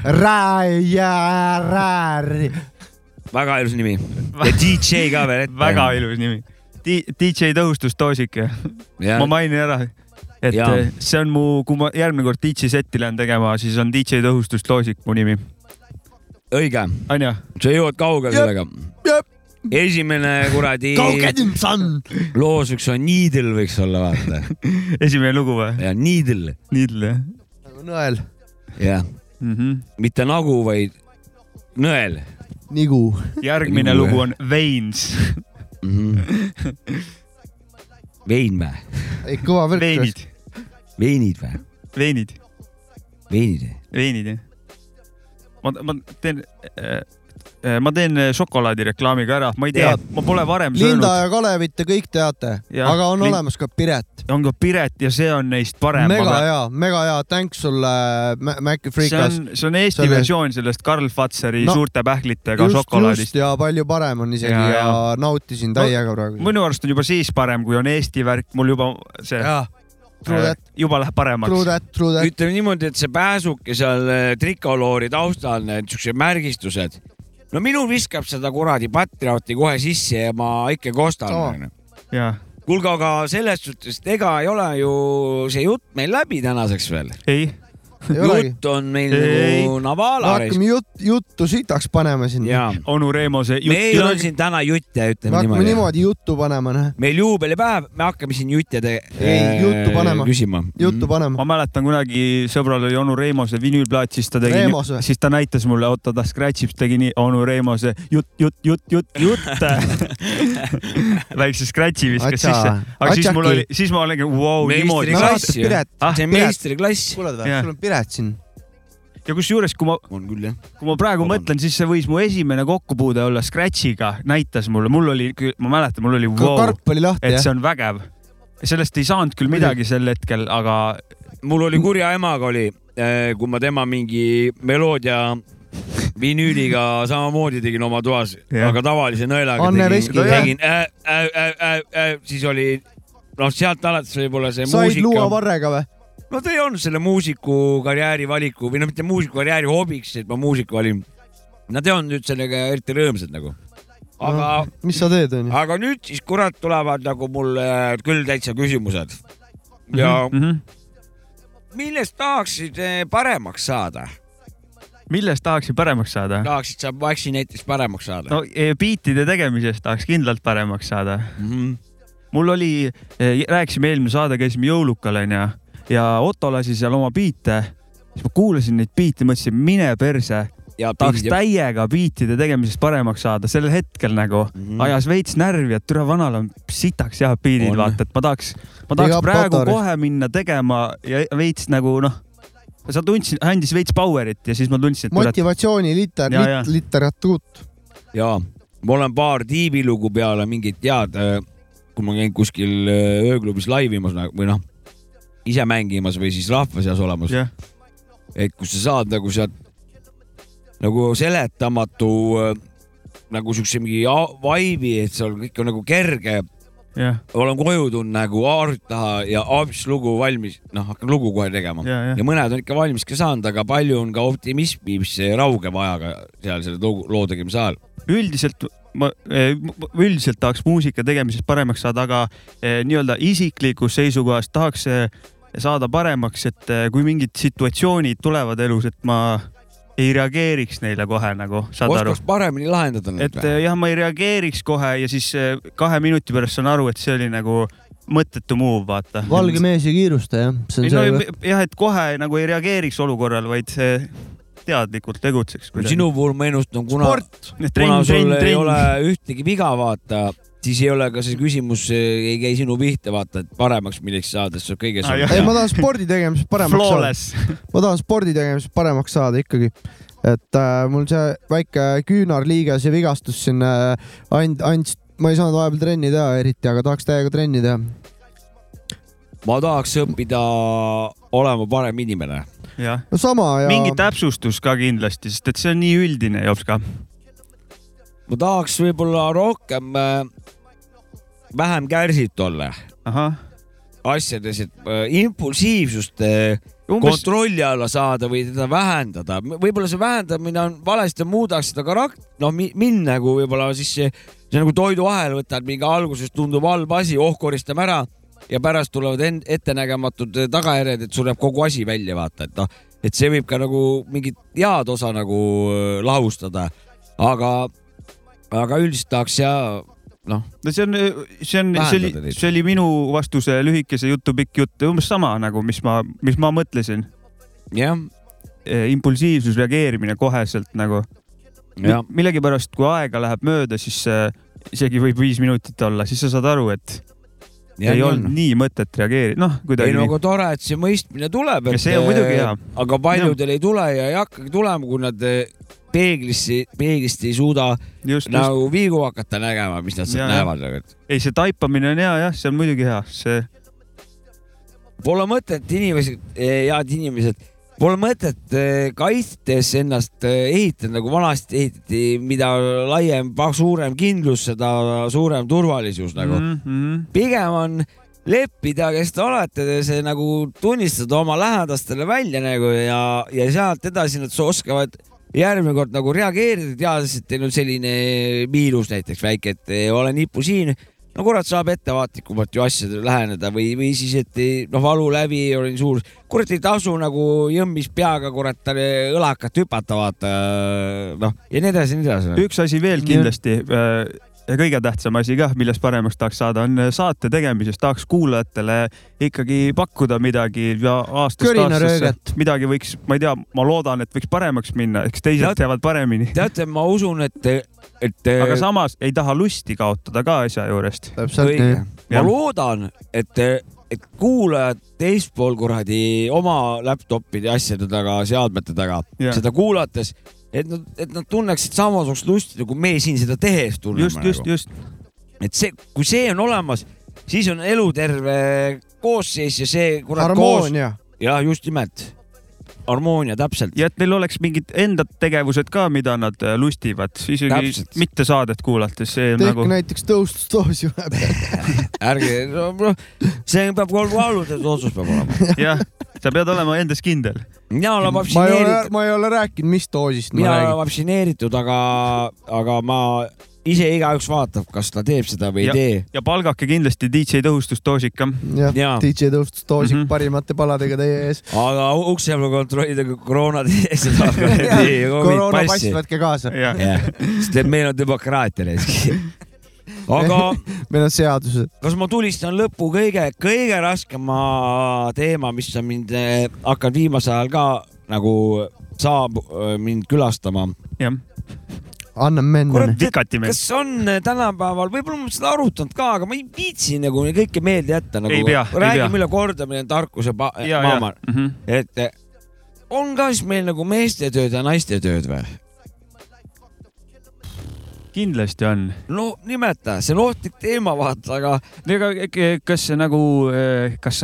Speaker 2: Rääi , Järv .
Speaker 4: väga ilus nimi . ja DJ ka veel ette .
Speaker 3: väga ilus nimi . DJ tõhustusdoosik ja
Speaker 4: Jah.
Speaker 3: ma mainin ära , et ja.
Speaker 4: Jaa.
Speaker 3: see on mu , kui ma järgmine kord DJ setti lähen tegema , siis on DJ tõhustusdoosik mu nimi .
Speaker 4: õige .
Speaker 3: onju .
Speaker 4: sa jõuad kaugele sellega . esimene kuradi loos võiks olla , Needle võiks olla , vaata .
Speaker 3: esimene lugu või ?
Speaker 4: ja Needle .
Speaker 3: Needle jah .
Speaker 2: nõel .
Speaker 4: jah
Speaker 3: mm -hmm. .
Speaker 4: mitte nagu , vaid nõel .
Speaker 2: nigu .
Speaker 3: järgmine
Speaker 4: Nigu,
Speaker 3: lugu
Speaker 4: jah.
Speaker 3: on Veins .
Speaker 4: vein Mhm. või ?
Speaker 2: ei kõva värk .
Speaker 3: veinid ,
Speaker 4: veinid või ?
Speaker 3: veinid ,
Speaker 4: veinid või ?
Speaker 3: veinid jah . ma , ma teen äh, , ma teen šokolaadireklaami ka ära , ma ei tea , ma pole varem
Speaker 2: Linda
Speaker 3: söönud .
Speaker 2: ja Kalevit te kõik teate ,
Speaker 3: Jah,
Speaker 2: aga on
Speaker 3: Lin-
Speaker 2: olemas ka Piret .
Speaker 3: on ka Piret ja see on neist parem .
Speaker 2: mega hea , mega hea , tänks sulle Mä-
Speaker 3: see
Speaker 2: Maci Freekas .
Speaker 3: on , see on Eesti Selle... versioon sellest Karl Fazeri
Speaker 2: No,
Speaker 3: no, suurte pähklitega šokolaadist .
Speaker 2: ja palju parem on isegi ja,
Speaker 3: Ja,
Speaker 2: ja.
Speaker 3: ja.
Speaker 2: ja nautisin täiega praegu .
Speaker 3: minu arust on juba siis parem , kui on Eesti värk , mul juba see äh,
Speaker 2: Jaa. True that.
Speaker 3: juba läheb
Speaker 2: True
Speaker 3: paremaks .
Speaker 2: that , true that .
Speaker 4: ütleme niimoodi , et see pääsuke seal äh, trikoloori taustal , need siuksed märgistused . no minul viskab seda kuradi patriooti kohe sisse ja ma ikkagi
Speaker 2: Sama.
Speaker 4: ostan .
Speaker 3: jaa ,
Speaker 4: kuulge , aga selles suhtes , et ega ei ole ju see jutt meil läbi tänaseks veel .
Speaker 3: ei ,
Speaker 2: Ei olegi.
Speaker 4: jutt on meil
Speaker 3: Ei.
Speaker 4: nagu
Speaker 2: no
Speaker 4: Navala reis
Speaker 2: hakkame . jut, juttu sitaks panema sinna .
Speaker 4: jaa ,
Speaker 3: onu Reemo see
Speaker 4: meil on
Speaker 3: jutt ,
Speaker 4: siin täna jutte ,
Speaker 2: me
Speaker 4: ütleme
Speaker 2: hakkame
Speaker 4: niimoodi, niimoodi. .
Speaker 2: niimoodi juttu panema , noh .
Speaker 4: meil juubelipäev , me hakkame siin jutte te- .
Speaker 2: Ei, juttu panema.
Speaker 4: Äh, küsima .
Speaker 2: juttu panema .
Speaker 3: ma mäletan kunagi sõbral oli onu Reemo see vinüülplaat , siis ta tegi
Speaker 2: Reemos või? ,
Speaker 3: siis ta näitas mulle , oota ta scratch ib , tegi nii onu Reemo see jutt , jutt , jutt , jutt , jutt . väikse scratch'i viskas
Speaker 2: Atsa.
Speaker 3: sisse , aga siis mul
Speaker 2: Atsaki.
Speaker 3: oli , siis ma olengi , vau , niimoodi .
Speaker 4: meistriklass
Speaker 2: Mäletad
Speaker 4: ju
Speaker 2: Piret? .
Speaker 4: Ah, see on
Speaker 2: Piret.
Speaker 4: meistriklass .
Speaker 2: kuule ,
Speaker 3: Jaa.
Speaker 2: sul on Piret siin .
Speaker 3: ja kusjuures , kui ma
Speaker 4: on küll jah .
Speaker 3: kui ma praegu
Speaker 4: Vabandust.
Speaker 3: mõtlen , siis see võis mu esimene kokkupuude olla Scratchiga , näitas mulle , mul oli , ma mäletan , mul oli vau wow, ,
Speaker 2: karp oli lahti ,
Speaker 3: et
Speaker 2: jah
Speaker 3: see ? on vägev . sellest ei saanud küll midagi sel hetkel , aga
Speaker 4: mul oli kurja emaga oli , kui ma tema mingi meloodia vinüüliga samamoodi tegin oma toas ,
Speaker 3: Jah.
Speaker 4: aga tavalise nõelaga
Speaker 2: Anne
Speaker 4: tegin,
Speaker 2: Veski, jah.
Speaker 4: tegin äh, , äh, äh, äh, äh, siis oli , noh , sealt alates võib-olla see
Speaker 2: said
Speaker 4: muusika ,
Speaker 2: luuavarrega või ?
Speaker 4: no ta ei olnud selle muusikukarjääri valiku või no mitte muusikukarjääri hobiks , et ma muusiku valin . Nad ei olnud nüüd sellega eriti rõõmsad nagu . aga no. ,
Speaker 2: mis sa teed , onju ?
Speaker 4: aga nüüd siis kurat tulevad nagu mul äh, küll täitsa küsimused ja
Speaker 2: Mhm.
Speaker 3: mm -hmm.
Speaker 4: millest tahaksid eh, paremaks saada ?
Speaker 3: millest tahaksin paremaks saada ?
Speaker 4: tahaksid sa Maxi näiteks paremaks saada no. ?
Speaker 3: no eh, biitide tegemisest tahaks kindlalt paremaks saada .
Speaker 4: Mm -hmm.
Speaker 3: mul oli , rääkisime eelmine saade , käisime jõulukal onju ja Otto lasi seal oma biite , siis ma kuulasin neid biite , mõtlesin , mine perse
Speaker 4: ja
Speaker 3: tahaks
Speaker 4: tahaksid
Speaker 3: täiega biitide tegemisest paremaks saada , sel hetkel nagu mm
Speaker 4: Mhm.
Speaker 3: -hmm. ajas veits närvi , et türa vanal on sitaks head biidid ,
Speaker 4: On.
Speaker 3: vaata , et ma tahaks , ma tahaks
Speaker 2: Big up
Speaker 3: praegu
Speaker 2: Otaris.
Speaker 3: kohe minna tegema ja veits nagu noh , sa tundsid , andis veits power'it ja siis ma tundsin , et kurat ,
Speaker 2: motivatsiooni liter-
Speaker 3: Jaa, jaa. ,
Speaker 2: literatuut .
Speaker 4: ja ma olen paar tiibilugu peale mingit head , kui ma käin kuskil eh, ööklubis laivimas nagu- või noh , ise mängimas või siis rahva seas olemas ,
Speaker 3: jah ,
Speaker 4: et kus sa saad nagu sealt nagu seletamatu eh, nagu siukse mingi a- vaibi , et seal kõik on nagu kerge
Speaker 3: jah ,
Speaker 4: olen koju tulnud nagu aart taha ja hops lugu valmis , noh hakkan lugu kohe tegema
Speaker 3: Ja, ja.
Speaker 4: ja mõned on ikka valmis ka saanud , aga palju on ka optimismi , mis raugeb ajaga seal selle loo, loo tegemise ajal .
Speaker 3: üldiselt ma , üldiselt tahaks muusika tegemisest paremaks saada , aga eh, nii-öelda isiklikust seisukohast tahaks eh, saada paremaks , et eh, kui mingid situatsioonid tulevad elus , et ma ei reageeriks neile kohe nagu , saad
Speaker 4: oskaks
Speaker 3: aru ?
Speaker 4: paremini lahendada neid
Speaker 3: et äh, jah , ma ei reageeriks kohe ja siis äh, kahe minuti pärast saan aru , et see oli nagu mõttetu move , vaata .
Speaker 2: valge mees ei kiirusta jah , see
Speaker 3: ei
Speaker 2: on see
Speaker 3: no . jah , et kohe nagu ei reageeriks olukorral , vaid eh, teadlikult tegutseks .
Speaker 4: sinu puhul ma ennustan , kuna ,
Speaker 3: Trenn,
Speaker 4: kuna sul
Speaker 3: trenn,
Speaker 4: ei
Speaker 3: trenn.
Speaker 4: ole ühtegi viga , vaata , siis ei ole ka see küsimus , ei käi sinu pihta , vaata , et paremaks milleks saada , siis saab kõige
Speaker 3: Ah,
Speaker 2: ei , ma tahan spordi tegemisest paremaks
Speaker 4: Flawless.
Speaker 2: saada . ma tahan spordi tegemisest paremaks saada ikkagi . et äh, mul see väike küünarliiges ja vigastus siin äh, and- , andis , ma ei saanud vahepeal trenni teha eriti , aga tahaks täiega trenni teha .
Speaker 4: ma tahaks õppida olema parem inimene .
Speaker 3: jah
Speaker 2: no sama ja
Speaker 3: mingi täpsustus ka kindlasti , sest et see on nii üldine jops ka .
Speaker 4: ma tahaks võib-olla rohkem , vähem kärsitu olla . asjades , et äh, impulsiivsust äh,
Speaker 3: Umbes-
Speaker 4: kontrolli alla saada või teda vähendada , võib-olla see vähendamine on valesti , muudaks seda karakter , noh , mind nagu võib-olla siis see, see nagu toiduahel võtad , mingi alguses tundub halb asi , oh , koristame ära ja pärast tulevad en- ettenägematud äh, tagajärjed , et sul jääb kogu asi välja , vaata , et noh , et see võib ka nagu mingit head osa nagu äh, lahustada , aga , aga üldiselt tahaks ja noh ,
Speaker 3: no see on , see on , see
Speaker 4: Vähendada
Speaker 3: oli ,
Speaker 4: neid.
Speaker 3: see oli minu vastuse lühikese jutu pikk jutt , umbes sama nagu , mis ma , mis ma mõtlesin .
Speaker 4: jah .
Speaker 3: impulsiivsus , reageerimine koheselt nagu .
Speaker 4: Jah.
Speaker 3: millegipärast , kui aega läheb mööda , siis äh, isegi võib viis minutit olla , siis sa saad aru , et ja,
Speaker 4: Ja
Speaker 3: ei
Speaker 4: nii
Speaker 3: olnud
Speaker 4: on.
Speaker 3: nii mõtet reageerida , noh ,
Speaker 4: ei
Speaker 3: kuidagi
Speaker 4: no aga
Speaker 3: nii .
Speaker 4: tore , et see mõistmine tuleb .
Speaker 3: Ja see on muidugi hea.
Speaker 4: aga paljudel ei tule ja ei hakkagi tulema , kui nad eh, peeglisse , peeglist ei suuda
Speaker 3: just,
Speaker 4: nagu viigu hakata nägema , mis nad
Speaker 3: Ja,
Speaker 4: sealt
Speaker 3: ja.
Speaker 4: näevad , aga et
Speaker 3: ei , see taipamine on hea jah , see on muidugi hea , see
Speaker 4: pole mõtet inimesed , head inimesed , pole mõtet eh, kaitstes ennast eh, ehitada nagu vanasti ehitati , mida laiem , suurem kindlus , seda suurem turvalisus nagu mm .
Speaker 3: -hmm.
Speaker 4: pigem on leppida , kes te olete , see nagu tunnistada oma lähedastele välja nagu ja , ja sealt edasi nad so- oskavad järgmine kord nagu reageerida , teades , et teil on selline miinus näiteks väike , et ei ole nipu siin . no kurat , saab ettevaatlikumalt ju asjadele läheneda või , või siis , et ei- noh , valu läbi ei ole nii suur . kurat , ei tasu nagu jõmmis peaga kurat talle õlakat hüpata , vaata noh , ja nii edasi ja nii edasi .
Speaker 3: üks asi veel kindlasti äh, ja kõige tähtsam asi kah , millest paremaks tahaks saada , on äh, saate tegemises , tahaks kuulajatele ikkagi pakkuda midagi ja aastast
Speaker 4: Körinaröögat.
Speaker 3: aastasse midagi võiks , ma ei tea , ma loodan , et võiks paremaks minna , eks teised
Speaker 4: Tead-
Speaker 3: teavad paremini .
Speaker 4: teate , ma usun , et , et .
Speaker 3: aga samas ei taha lusti kaotada ka asja juurest .
Speaker 4: õige . ma loodan , et , et kuulajad teispool kuradi oma laptop'ide ja asjade taga , seadmete taga
Speaker 3: Jah.
Speaker 4: yeah. seda kuulates , et nad , et nad tunneksid samasugust lusti , nagu meie siin seda tehes tunneme .
Speaker 3: Just, just, just .
Speaker 4: et see , kui see on olemas , siis on elu terve koosseis ja see kurat
Speaker 2: Harmoonia.
Speaker 4: koos... . ja just nimelt , harmoonia , täpselt .
Speaker 3: ja et neil oleks mingid enda tegevused ka , mida nad äh, lustivad , isegi
Speaker 4: Täpselt.
Speaker 3: mitte saadet kuulates , see on
Speaker 2: tehke
Speaker 3: nagu
Speaker 2: nagu... . näiteks tõustusdoosi vahepeal .
Speaker 4: ärge , see peab kogu kaalutletud otsus peab olema .
Speaker 3: jah , sa pead olema endas kindel .
Speaker 4: mina olen
Speaker 2: ma ei ole
Speaker 4: vaktsineeritud .,
Speaker 2: ma ei ole rääkinud , mis doosist ma
Speaker 4: mina olen
Speaker 2: räägin .
Speaker 4: vaktsineeritud , aga , aga ma ise igaüks vaatab , kas ta teeb seda või ei tee .
Speaker 3: ja palgake kindlasti DJ tõhustusdoosika .
Speaker 2: jah , DJ tõustusdoosik mm
Speaker 3: Mhm.
Speaker 2: -hmm. parimate paladega teie ees .
Speaker 4: aga u- ukse peal kontrollida kui koroona seda
Speaker 2: koroonapass võtke kaasa .
Speaker 4: sest et meil on demokraatia näiteks . aga
Speaker 2: meil on seadused .
Speaker 4: kas ma tulistan lõppu kõige , kõige raskema teema , mis on mind eh, hakanud viimasel ajal ka nagu saab eh, mind külastama
Speaker 3: jah .
Speaker 2: anname menne .
Speaker 3: vikati
Speaker 4: kas on äh, tänapäeval , võib-olla ma seda arutanud ka , aga ma ei viitsi nagu neid kõike meelde jätta nagu .
Speaker 3: Ei pea, ei pea.
Speaker 4: räägime üle kordamine on tarkuse pa-
Speaker 3: ja.
Speaker 4: maailma ,
Speaker 3: Mhm.
Speaker 4: et eh, on ka siis meil nagu meeste tööd ja naiste tööd või ?
Speaker 3: kindlasti on .
Speaker 4: no nimeta , see on ohtlik teema , vaata , aga
Speaker 3: ega ega- kas see nagu , kas ,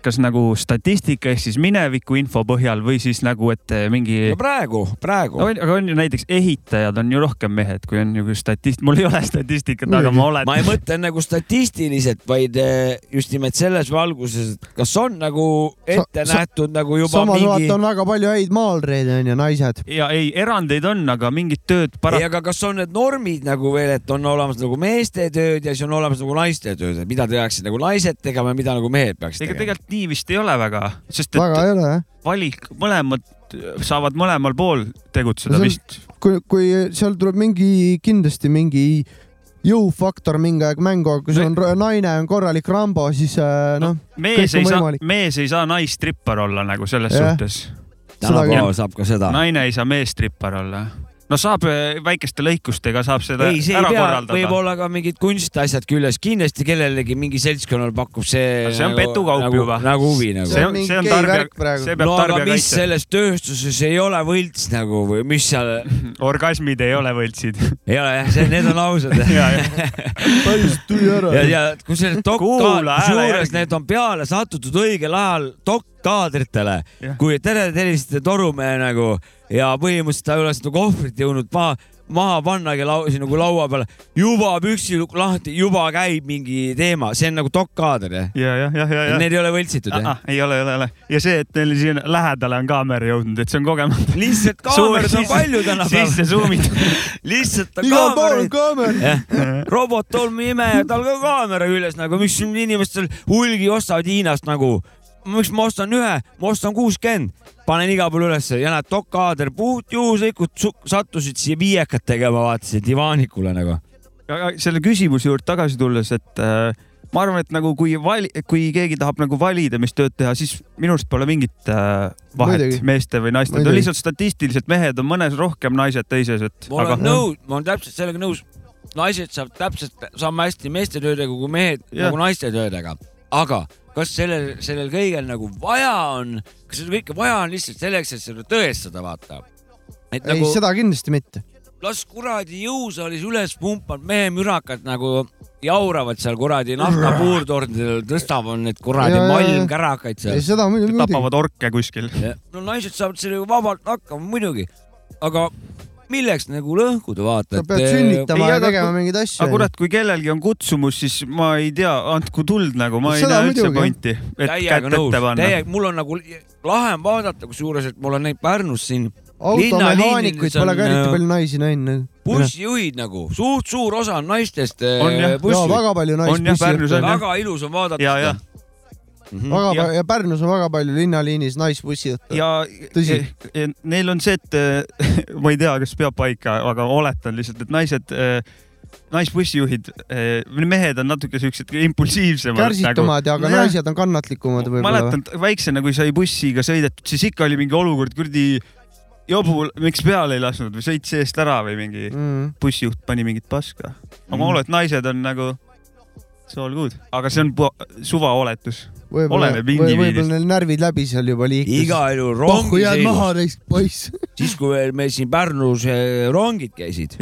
Speaker 3: kas nagu statistika ehk siis mineviku info põhjal või siis nagu , et eh, mingi
Speaker 4: no . praegu , praegu
Speaker 3: No, on- aga on ju näiteks ehitajad on ju rohkem mehed , kui on ju statist- , mul ei ole statistikat , aga ma olen .
Speaker 4: ma ei mõtle nagu statistiliselt , vaid eh, just nimelt selles valguses , et kas on nagu ette
Speaker 2: sa-
Speaker 4: nähtud nagu juba
Speaker 2: samas mingi...
Speaker 4: mingi
Speaker 2: vaata , on väga palju häid maalreid onju , naised .
Speaker 3: ja ei , erandeid on , aga mingit tööd
Speaker 4: ei ,
Speaker 3: paraku .
Speaker 4: aga kas on need normid nagu veel , et on olemas nagu meeste tööd ja siis on olemas nagu naiste tööd , et mida peaksid nagu naised tegema ja mida nagu mehed peaksid
Speaker 3: ega
Speaker 4: tegema ?
Speaker 3: tegelikult nii vist ei ole väga , sest et
Speaker 2: väga ei ole jah .
Speaker 3: valik , mõlemad saavad mõlemal pool tegutseda
Speaker 2: See on-
Speaker 3: vist .
Speaker 2: kui , kui seal tuleb mingi , kindlasti mingi jõufaktor mingi aeg mängu , kui sul on ra- naine on korralik Rambo , siis äh, noh no, ,
Speaker 3: mees
Speaker 2: kõik
Speaker 3: ei
Speaker 2: on
Speaker 3: saa
Speaker 2: võimalik ,.
Speaker 3: mees ei saa naistrippar olla nagu selles
Speaker 2: Jah.
Speaker 3: suhtes .
Speaker 4: Tänapäeval saab ka seda.
Speaker 3: naine ei saa meestrippar olla . no saab eh, väikeste lõikustega saab seda
Speaker 4: ei , see ei
Speaker 3: ära
Speaker 4: pea ,
Speaker 3: korraldada .
Speaker 4: võib-olla ka mingid kunstiasjad küljes , kindlasti kellelegi mingi seltskonnal pakub see .
Speaker 3: see on petukaup
Speaker 4: nagu,
Speaker 3: juba.
Speaker 4: nagu huvi nagu .
Speaker 3: See on- see on tarbija- see peab
Speaker 4: no aga
Speaker 3: tarbija
Speaker 4: mis
Speaker 3: kaitse-
Speaker 4: selles tööstuses ei ole võlts nagu või mis seal ?
Speaker 3: orgasmid ei ole võltsid .
Speaker 4: ei ole jah , need on ausad .
Speaker 2: päris tühi ära
Speaker 4: ja , ja kusjuures dokkaad ,
Speaker 3: Kuula hääle
Speaker 4: kusjuures
Speaker 3: järgi.
Speaker 4: need on peale sattutud õigel ajal dokkaadritele
Speaker 3: Jah. ,
Speaker 4: kui tere tervist torumehe nagu ja põhimõtteliselt ta ei ole seda kohvrit jõudnud maha , maha pannagi lau, siin nagu laua peale , juba püksilukk lahti , juba käib mingi teema , see on nagu dokkaader jah ?
Speaker 3: ja , jah , jah , jah , jah .
Speaker 4: Need ei ole võltsitud jah ?
Speaker 3: ei ole , ei ole , ei ole . ja see , et neil siin lähedale on kaamera jõudnud , et see on kogemata .
Speaker 4: lihtsalt kaameraid on palju tänapäeval .
Speaker 3: sisse suumitud .
Speaker 4: lihtsalt on
Speaker 3: Igal pool
Speaker 4: kaameraid
Speaker 3: on . kaamera.
Speaker 4: robot tolmuimeja , tal ka kaamera küljes nagu , miks siin inimestel hulgi ostavad Hiinast nagu , miks ma ostan ühe , ma ostan kuuskümmend , panen igal pool ülesse ja näed , dokkaader , puht juhuslikult su- sattusid siia viiekat tegema , vaatasid divaanikule nagu .
Speaker 3: aga selle küsimuse juurde tagasi tulles , et äh, ma arvan , et nagu kui vali- , kui keegi tahab nagu valida , mis tööd teha , siis minu arust pole mingit äh, vahet
Speaker 4: Muidugi.
Speaker 3: Muidugi. meeste või naiste ,
Speaker 4: Muidugi.
Speaker 3: lihtsalt statistiliselt mehed on mõnes rohkem , naised teises , et .
Speaker 4: ma olen aga... nõus , ma olen täpselt sellega nõus . naised saavad täpselt sama hästi meeste töödega kui mehed ja.
Speaker 3: Jah.
Speaker 4: nagu naiste töödega , aga kas sellel , sellel kõigel nagu vaja on , kas seda kõike vaja on lihtsalt selleks , et seda tõestada , vaata . et
Speaker 2: ei nagu... , seda kindlasti mitte .
Speaker 4: las kuradi jõusaalis üles pumpavad mehemürakad nagu jauravad seal kuradi naftapuurtornidel , tõstavad need kuradi
Speaker 2: Jaa, jaa, jaa.
Speaker 4: malmkärakaid seal .
Speaker 2: Ei, seda muidugi- muidugi. Tapavad
Speaker 3: orke kuskil .
Speaker 4: no naised saavad sellega vabalt hakkama muidugi , aga milleks nagu lõhkuda vaata , et . äh,
Speaker 3: Ei, aga kui-
Speaker 2: mingeid asju,
Speaker 3: aga kurat , kui kellelgi on kutsumus , siis ma ei tea , andku tuld nagu , ma ei
Speaker 4: Seda
Speaker 3: näe üldse
Speaker 4: muidugi.
Speaker 3: pointi , et kätt
Speaker 4: täiega
Speaker 3: ette
Speaker 4: nõus ,
Speaker 3: panna
Speaker 4: täiega , mul on nagu lahe on vaadata , kusjuures , et mul on neid Pärnus siin .
Speaker 2: automehaanikuid pole ka
Speaker 3: äh,
Speaker 2: eriti palju naisi näinud .
Speaker 4: bussijuhid nagu , suht suur osa on naistest . äh,
Speaker 2: On jah. Jaa, väga palju naisi On jah, bussijuhte. Pärnus on jah. Mhm.
Speaker 4: väga ilus on vaadata
Speaker 3: Jaa, jaa.
Speaker 4: seda .
Speaker 2: väga ja. ja Pärnus on väga palju linnaliinis naisbussijutte .
Speaker 3: ja
Speaker 2: tõsi
Speaker 3: e- , e- neil on see , et eh, ma ei tea , kas peab paika , aga oletan lihtsalt , et naised , naisbussijuhid , mehed on natuke siuksed impulsiivsemad .
Speaker 2: kärsitumad ja aga naised on kannatlikumad võib-olla
Speaker 3: mäletan . et väiksena , kui sai bussiga sõidetud , siis ikka oli mingi olukord , kuradi jobu , miks peale ei lasknud või sõits eest ära või mingi
Speaker 2: Mm.
Speaker 3: bussijuht pani mingit paska . aga
Speaker 2: Mm.
Speaker 3: ma arvan , et naised on nagu , it's all good , aga see on pu- suvaoletus .
Speaker 2: võib-olla ,
Speaker 3: oleneb
Speaker 2: võib-olla
Speaker 3: indiviidist .
Speaker 2: neil närvid läbi seal juba liikluses .
Speaker 4: igal juhul rongis
Speaker 2: pohhu jääd maha neist poiss .
Speaker 4: siis , kui veel meil siin Pärnus eh, rongid käisid .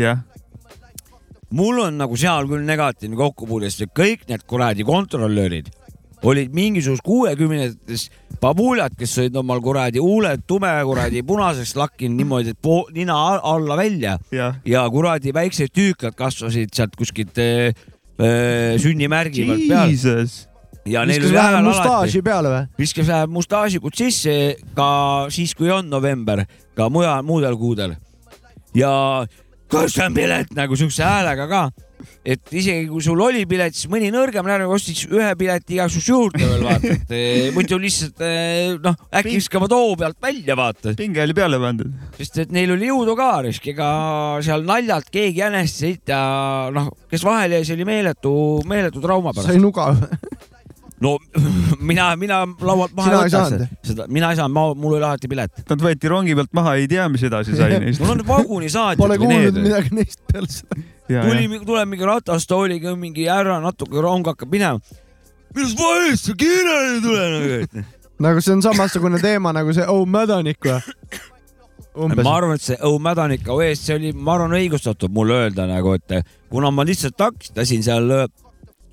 Speaker 4: mul on nagu seal küll negatiivne kokkupuude , sest kõik need kuradi kontrolörid olid mingisugused kuuekümnendates pabuljad , kes olid omal kuradi huuled tume kuradi punaseks lakkinud niimoodi , et po- nina a- alla välja
Speaker 3: ja,
Speaker 4: ja kuradi väiksed tüükad kasvasid sealt kuskilt eh, eh, sünnimärgi pealt peal .
Speaker 3: Jesus.
Speaker 4: ja neil
Speaker 2: viskas
Speaker 4: oli
Speaker 2: vähe
Speaker 4: hääl alati
Speaker 2: mustaaži peale või ?
Speaker 4: viskas vähe mustaažikud sisse ka siis , kui on november , ka mujal , muudel kuudel . ja kus on pilet nagu siukse häälega ka , et isegi kui sul oli pilet , siis mõni nõrgem närv ostis ühe pileti igaks juhuks juurde veel vaata , et eh, muidu lihtsalt eh, noh , äkki viskavad hoo pealt välja vaata .
Speaker 3: pinge oli peale pandud .
Speaker 4: sest et neil oli jõudu ka , ega seal naljalt keegi jänest ei sõita , noh , kes vahele jäi , see oli meeletu , meeletu trauma pärast
Speaker 2: sai . nuga või ?
Speaker 4: no mina , mina laualt maha
Speaker 2: Sina
Speaker 4: ei
Speaker 2: ei
Speaker 4: võta
Speaker 2: saanud,
Speaker 4: seda- seda , mina ei saanud , ma , mul oli alati pilet .
Speaker 3: Nad võeti rongi pealt maha , ei tea , mis edasi sai neist .
Speaker 4: mul on vagunisaadjad .
Speaker 2: Pole kuulnud midagi neist peale seda .
Speaker 4: tuli , tuleb mingi ratastooliga mingi härra , natuke rong hakkab minema . mis vahest sa kiirele ei tule nagu ?
Speaker 2: nagu see on samasugune teema nagu see Oh mädanik või ? Umbes.
Speaker 4: ma arvan , et see õu mädanik OE-s , see oli , ma arvan , õigustatud mulle öelda nagu , et kuna ma lihtsalt takistasin seal ,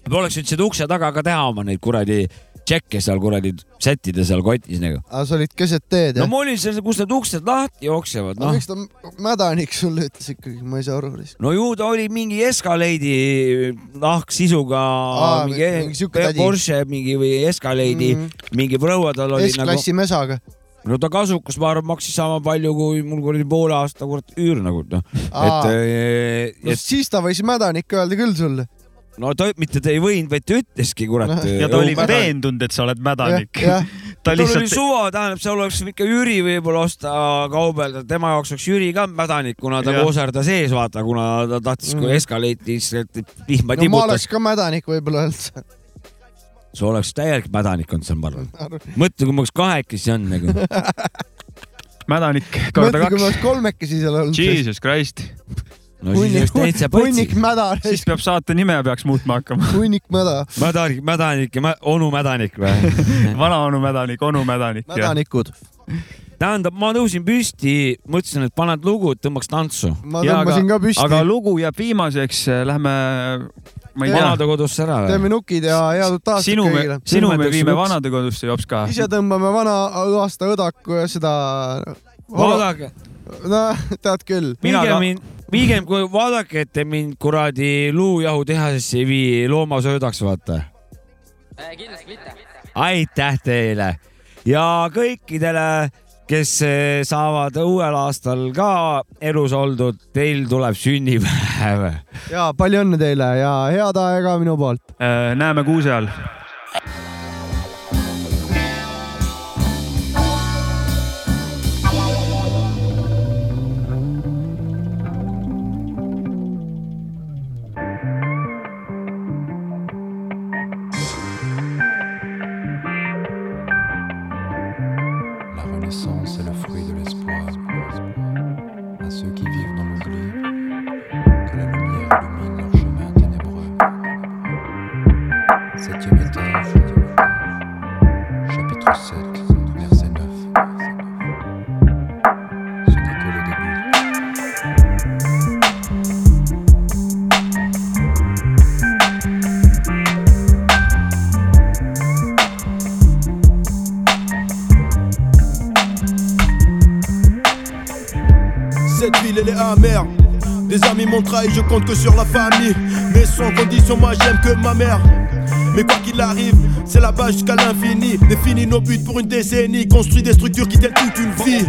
Speaker 4: poleks võinud seda ukse taga ka teha oma neid kuradi tšekke seal kuradi sättida seal kotis nagu .
Speaker 2: aga sa olid keset teed
Speaker 4: no
Speaker 2: jah ?
Speaker 4: ma olin seal , kus need uksed lahti jooksevad ,
Speaker 2: aga
Speaker 4: noh
Speaker 2: miks ta mädanik sulle ütles ikkagi , ma ei saa aru lihtsalt .
Speaker 4: no ju ta oli mingi Escalade'i eh, nahksisuga
Speaker 2: Aa,
Speaker 4: mingi,
Speaker 2: mingi siuke
Speaker 4: mingi
Speaker 2: tädi. Mhm.
Speaker 4: Porsche mingi või Escalade'i mm -hmm. mingi proua tal oli
Speaker 2: S-klassi mesaga .
Speaker 4: nagu . no ta kasukas , ma arvan , maksis sama palju kui mul oli poole aasta kurat üür nagu noh ,
Speaker 2: Aa.
Speaker 4: et ,
Speaker 2: no
Speaker 4: et
Speaker 2: siis ta võis mädanik öelda küll sulle .
Speaker 4: no ta mitte ta ei võinud , vaid ta ütleski kurat .
Speaker 2: Ja ta oli
Speaker 3: veendunud , et sa oled mädanik . ta
Speaker 4: tal oli
Speaker 3: lihtsalt ,
Speaker 4: suva , tähendab , seal oleks ikka Jüri võib-olla osta , kaubelda , tema jaoks oleks Jüri ka mädanik , kuna ta
Speaker 3: Jah.
Speaker 4: kooserda sees , vaata , kuna ta tahtis , kui
Speaker 2: Mhm.
Speaker 4: eskaleetis vihma
Speaker 2: no ma
Speaker 4: tibutas
Speaker 2: oleks . ka mädanik võib-olla üldse .
Speaker 4: sa oleks täielik mädanik olnud seal , ma arvan . mõtle , kui ma oleks kahekesi olnud nagu .
Speaker 3: mädanik
Speaker 2: mõtle , kui me oleks kolmekesi seal olnud .
Speaker 3: Jesus Christ .
Speaker 4: no
Speaker 2: hunnik mäda ,
Speaker 3: siis peab saate nime peaks muutma hakkama .
Speaker 2: hunnik mäda .
Speaker 4: mädanik , mädanik ja mä- onu mädanik või ?
Speaker 3: vana onu mädanik , onu mädanik .
Speaker 2: mädanikud .
Speaker 4: tähendab , ma tõusin püsti , mõtlesin , et paned lugu , et tõmbaks tantsu .
Speaker 2: Ma tõmbasin ka püsti.
Speaker 3: aga lugu jääb viimaseks , lähme , ma ei tea .
Speaker 4: vanadekodusse ära
Speaker 2: teeme nukid ja head uut aastat
Speaker 3: sinu me
Speaker 2: kõigile ,.
Speaker 3: sinu me viime . vanadekodusse , Jops ka .
Speaker 2: ise tõmbame vana aasta õdaku ja seda .
Speaker 4: Vaadake. .
Speaker 2: noh , tead küll .
Speaker 4: pigem mind , pigem kui vaadake , et te mind kuradi luujahutehasesse ei vii loomasöödaks , vaata .
Speaker 5: kindlasti mitte .
Speaker 4: aitäh teile ja kõikidele , kes eh, saavad uuel aastal ka elus oldud , teil tuleb sünnipäev .
Speaker 2: ja palju õnne teile ja head aega minu poolt .
Speaker 3: Äh, näeme kuuse all .
Speaker 13: La renaissance est le fruit de l'espoir. À ceux qui vivent dans l'oubli, que la lumière illumine leur chemin ténébreux. Septième étage, chapitre 7, verset 9. Ce n'est que le début.
Speaker 14: Cette ville elle est amère Des amis m'ont trahi, je compte que sur la famille Mais sans condition, moi j'aime que ma mère mais quoi qu'il arrive, c'est là-bas jusqu'à l'infini Définis nos buts pour une décennie Construis des structures qui tiennent toute une vie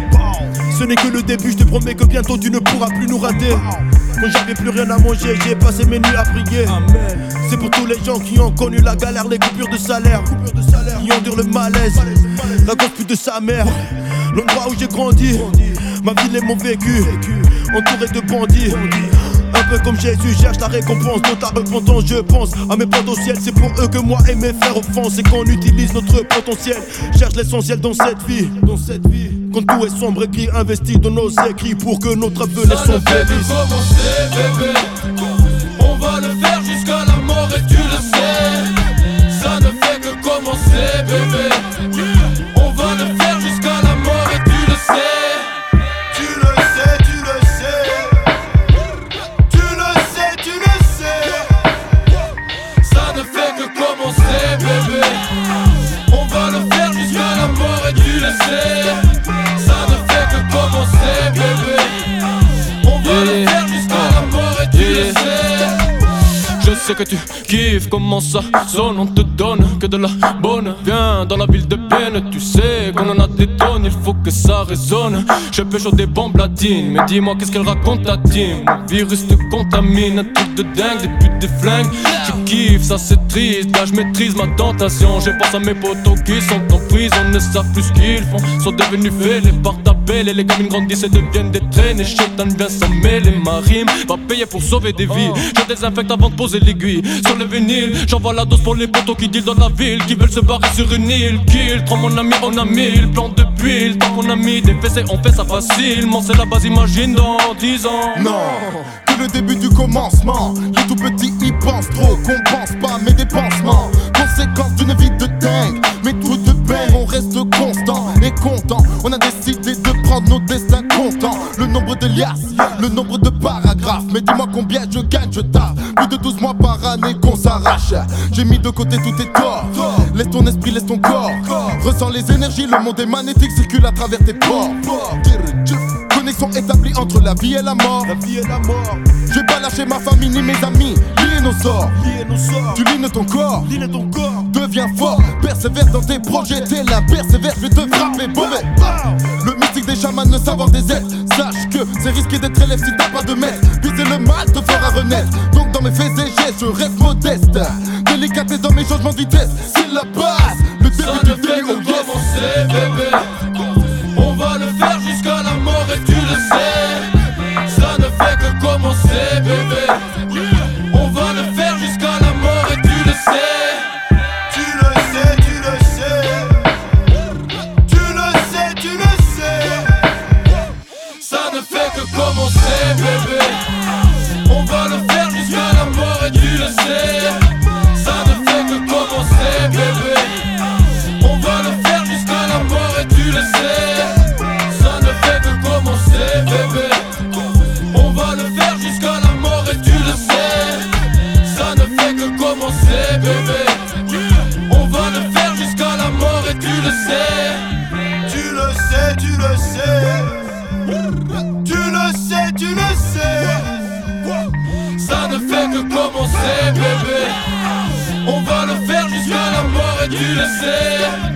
Speaker 14: Ce n'est que le début, je te promets que bientôt tu ne pourras plus nous rater Quand j'avais plus rien à manger, j'ai passé mes nuits à prier C'est pour tous les gens qui ont connu la galère, les coupures de salaire Qui endurent le malaise, la grosse pute de sa mère L'endroit où j'ai grandi, ma ville est mon vécu Entouré de bandits un peu comme Jésus cherche la récompense dont ta repentance je pense à mes potes au ciel C'est pour eux que moi et mes frères offensent Et qu'on utilise notre potentiel Cherche l'essentiel dans cette vie Dans cette vie Quand tout est sombre écrit investis dans nos écrits Pour que notre avenir
Speaker 15: Ça
Speaker 14: soit
Speaker 15: ne fait que commencer, bébé. On va le faire jusqu'à la mort et tu le sais. Ça ne fait que commencer, bébé. On va le faire jusqu'à la mort et tu le sais.
Speaker 12: Tu le sais, tu le sais. Tu le sais, tu le sais.
Speaker 15: Ça ne fait que commencer, bébé. On va le faire jusqu'à la mort et tu le sais. Ça ne fait que commencer, bébé. On va le faire jusqu'à la mort et tu le sais.
Speaker 16: Je sais que tu kiffes comment ça sonne, on te donne que de la bonne. Viens dans la ville de peine, tu sais qu'on en a des tonnes, il faut que ça résonne. Je peux chaud des bombes latines, mais dis-moi qu'est-ce qu'elle raconte ta team. Le virus te contamine, un truc de dingue, des putes, des flingues. Tu kiffes, ça c'est triste, là je maîtrise ma tentation. Je pense à mes potos qui sont en prison, ne savent plus ce qu'ils font. Sont devenus fêlés par ta belle et les gamines grandissent et deviennent des traînées. Chétan vient s'en mêler, ma rime va payer pour sauver des vies. Je désinfecte avant de poser l'aiguille sur le vinyle. J'envoie la dose pour les potos qui deal dans la ville, qui veulent se barrer sur une île. Kill, prends mon ami, on a mille plans de pile. Tant qu'on a mis des fessées, on fait ça facilement. C'est la base, imagine dans 10 ans.
Speaker 17: Non, que le début du commencement. Les tout petits y pensent trop, qu'on pense pas mes dépensements. Conséquence d'une vie de dingue, mais tout de bang, on reste constant et content. On a décidé de prendre nos destins comptant. Le nombre de liasses, le nombre de paragraphes. Mais dis-moi combien je gagne, je tape. Plus de 12 mois par année qu'on s'arrache. J'ai mis de côté tout tes torts. Laisse ton esprit, laisse ton corps. Ressens les énergies, le monde est magnétique, circule à travers tes pores. Connexion établie entre la vie et la mort. La vie et la mort. J'ai pas lâché ma famille ni mes amis. Lié nos sorts. Tu lines ton corps. ton corps. Deviens fort. Persévère dans tes projets. T'es là, persévère, je vais te frapper. Mauvais. Le mystique des chamans, le savoir des aides. Sache que c'est risqué d'être élève si t'as pas de maître. Viser le mal te fera renaître. Donc dans mes faits et gestes, je reste modeste. Délicatesse dans mes changements de vitesse. C'est la base. Le
Speaker 15: Ça ne fait que commencer, bébé. On va le faire jusqu'à la mort et tu le sais. Ça ne fait que commencer, bébé. On va le faire jusqu'à la mort et tu le sais.
Speaker 12: Tu le sais, tu le sais. Tu le sais, tu le sais.
Speaker 15: Ça ne fait que commencer, bébé. On va le faire jusqu'à la mort et tu le sais. Ça ne fait que commencer, bébé. On va le faire jusqu'à la mort et tu le sais. Ça ne fait que commencer, bébé. On va le faire jusqu'à la mort et tu le sais. Ça ne fait que commencer, bébé. On va le faire jusqu'à la mort et tu le sais.
Speaker 12: Tu le sais, tu le sais. Tu le sais, tu le sais.
Speaker 15: Ça ne fait que commencer, bébé. On va le faire jusqu'à la mort et tu le sais.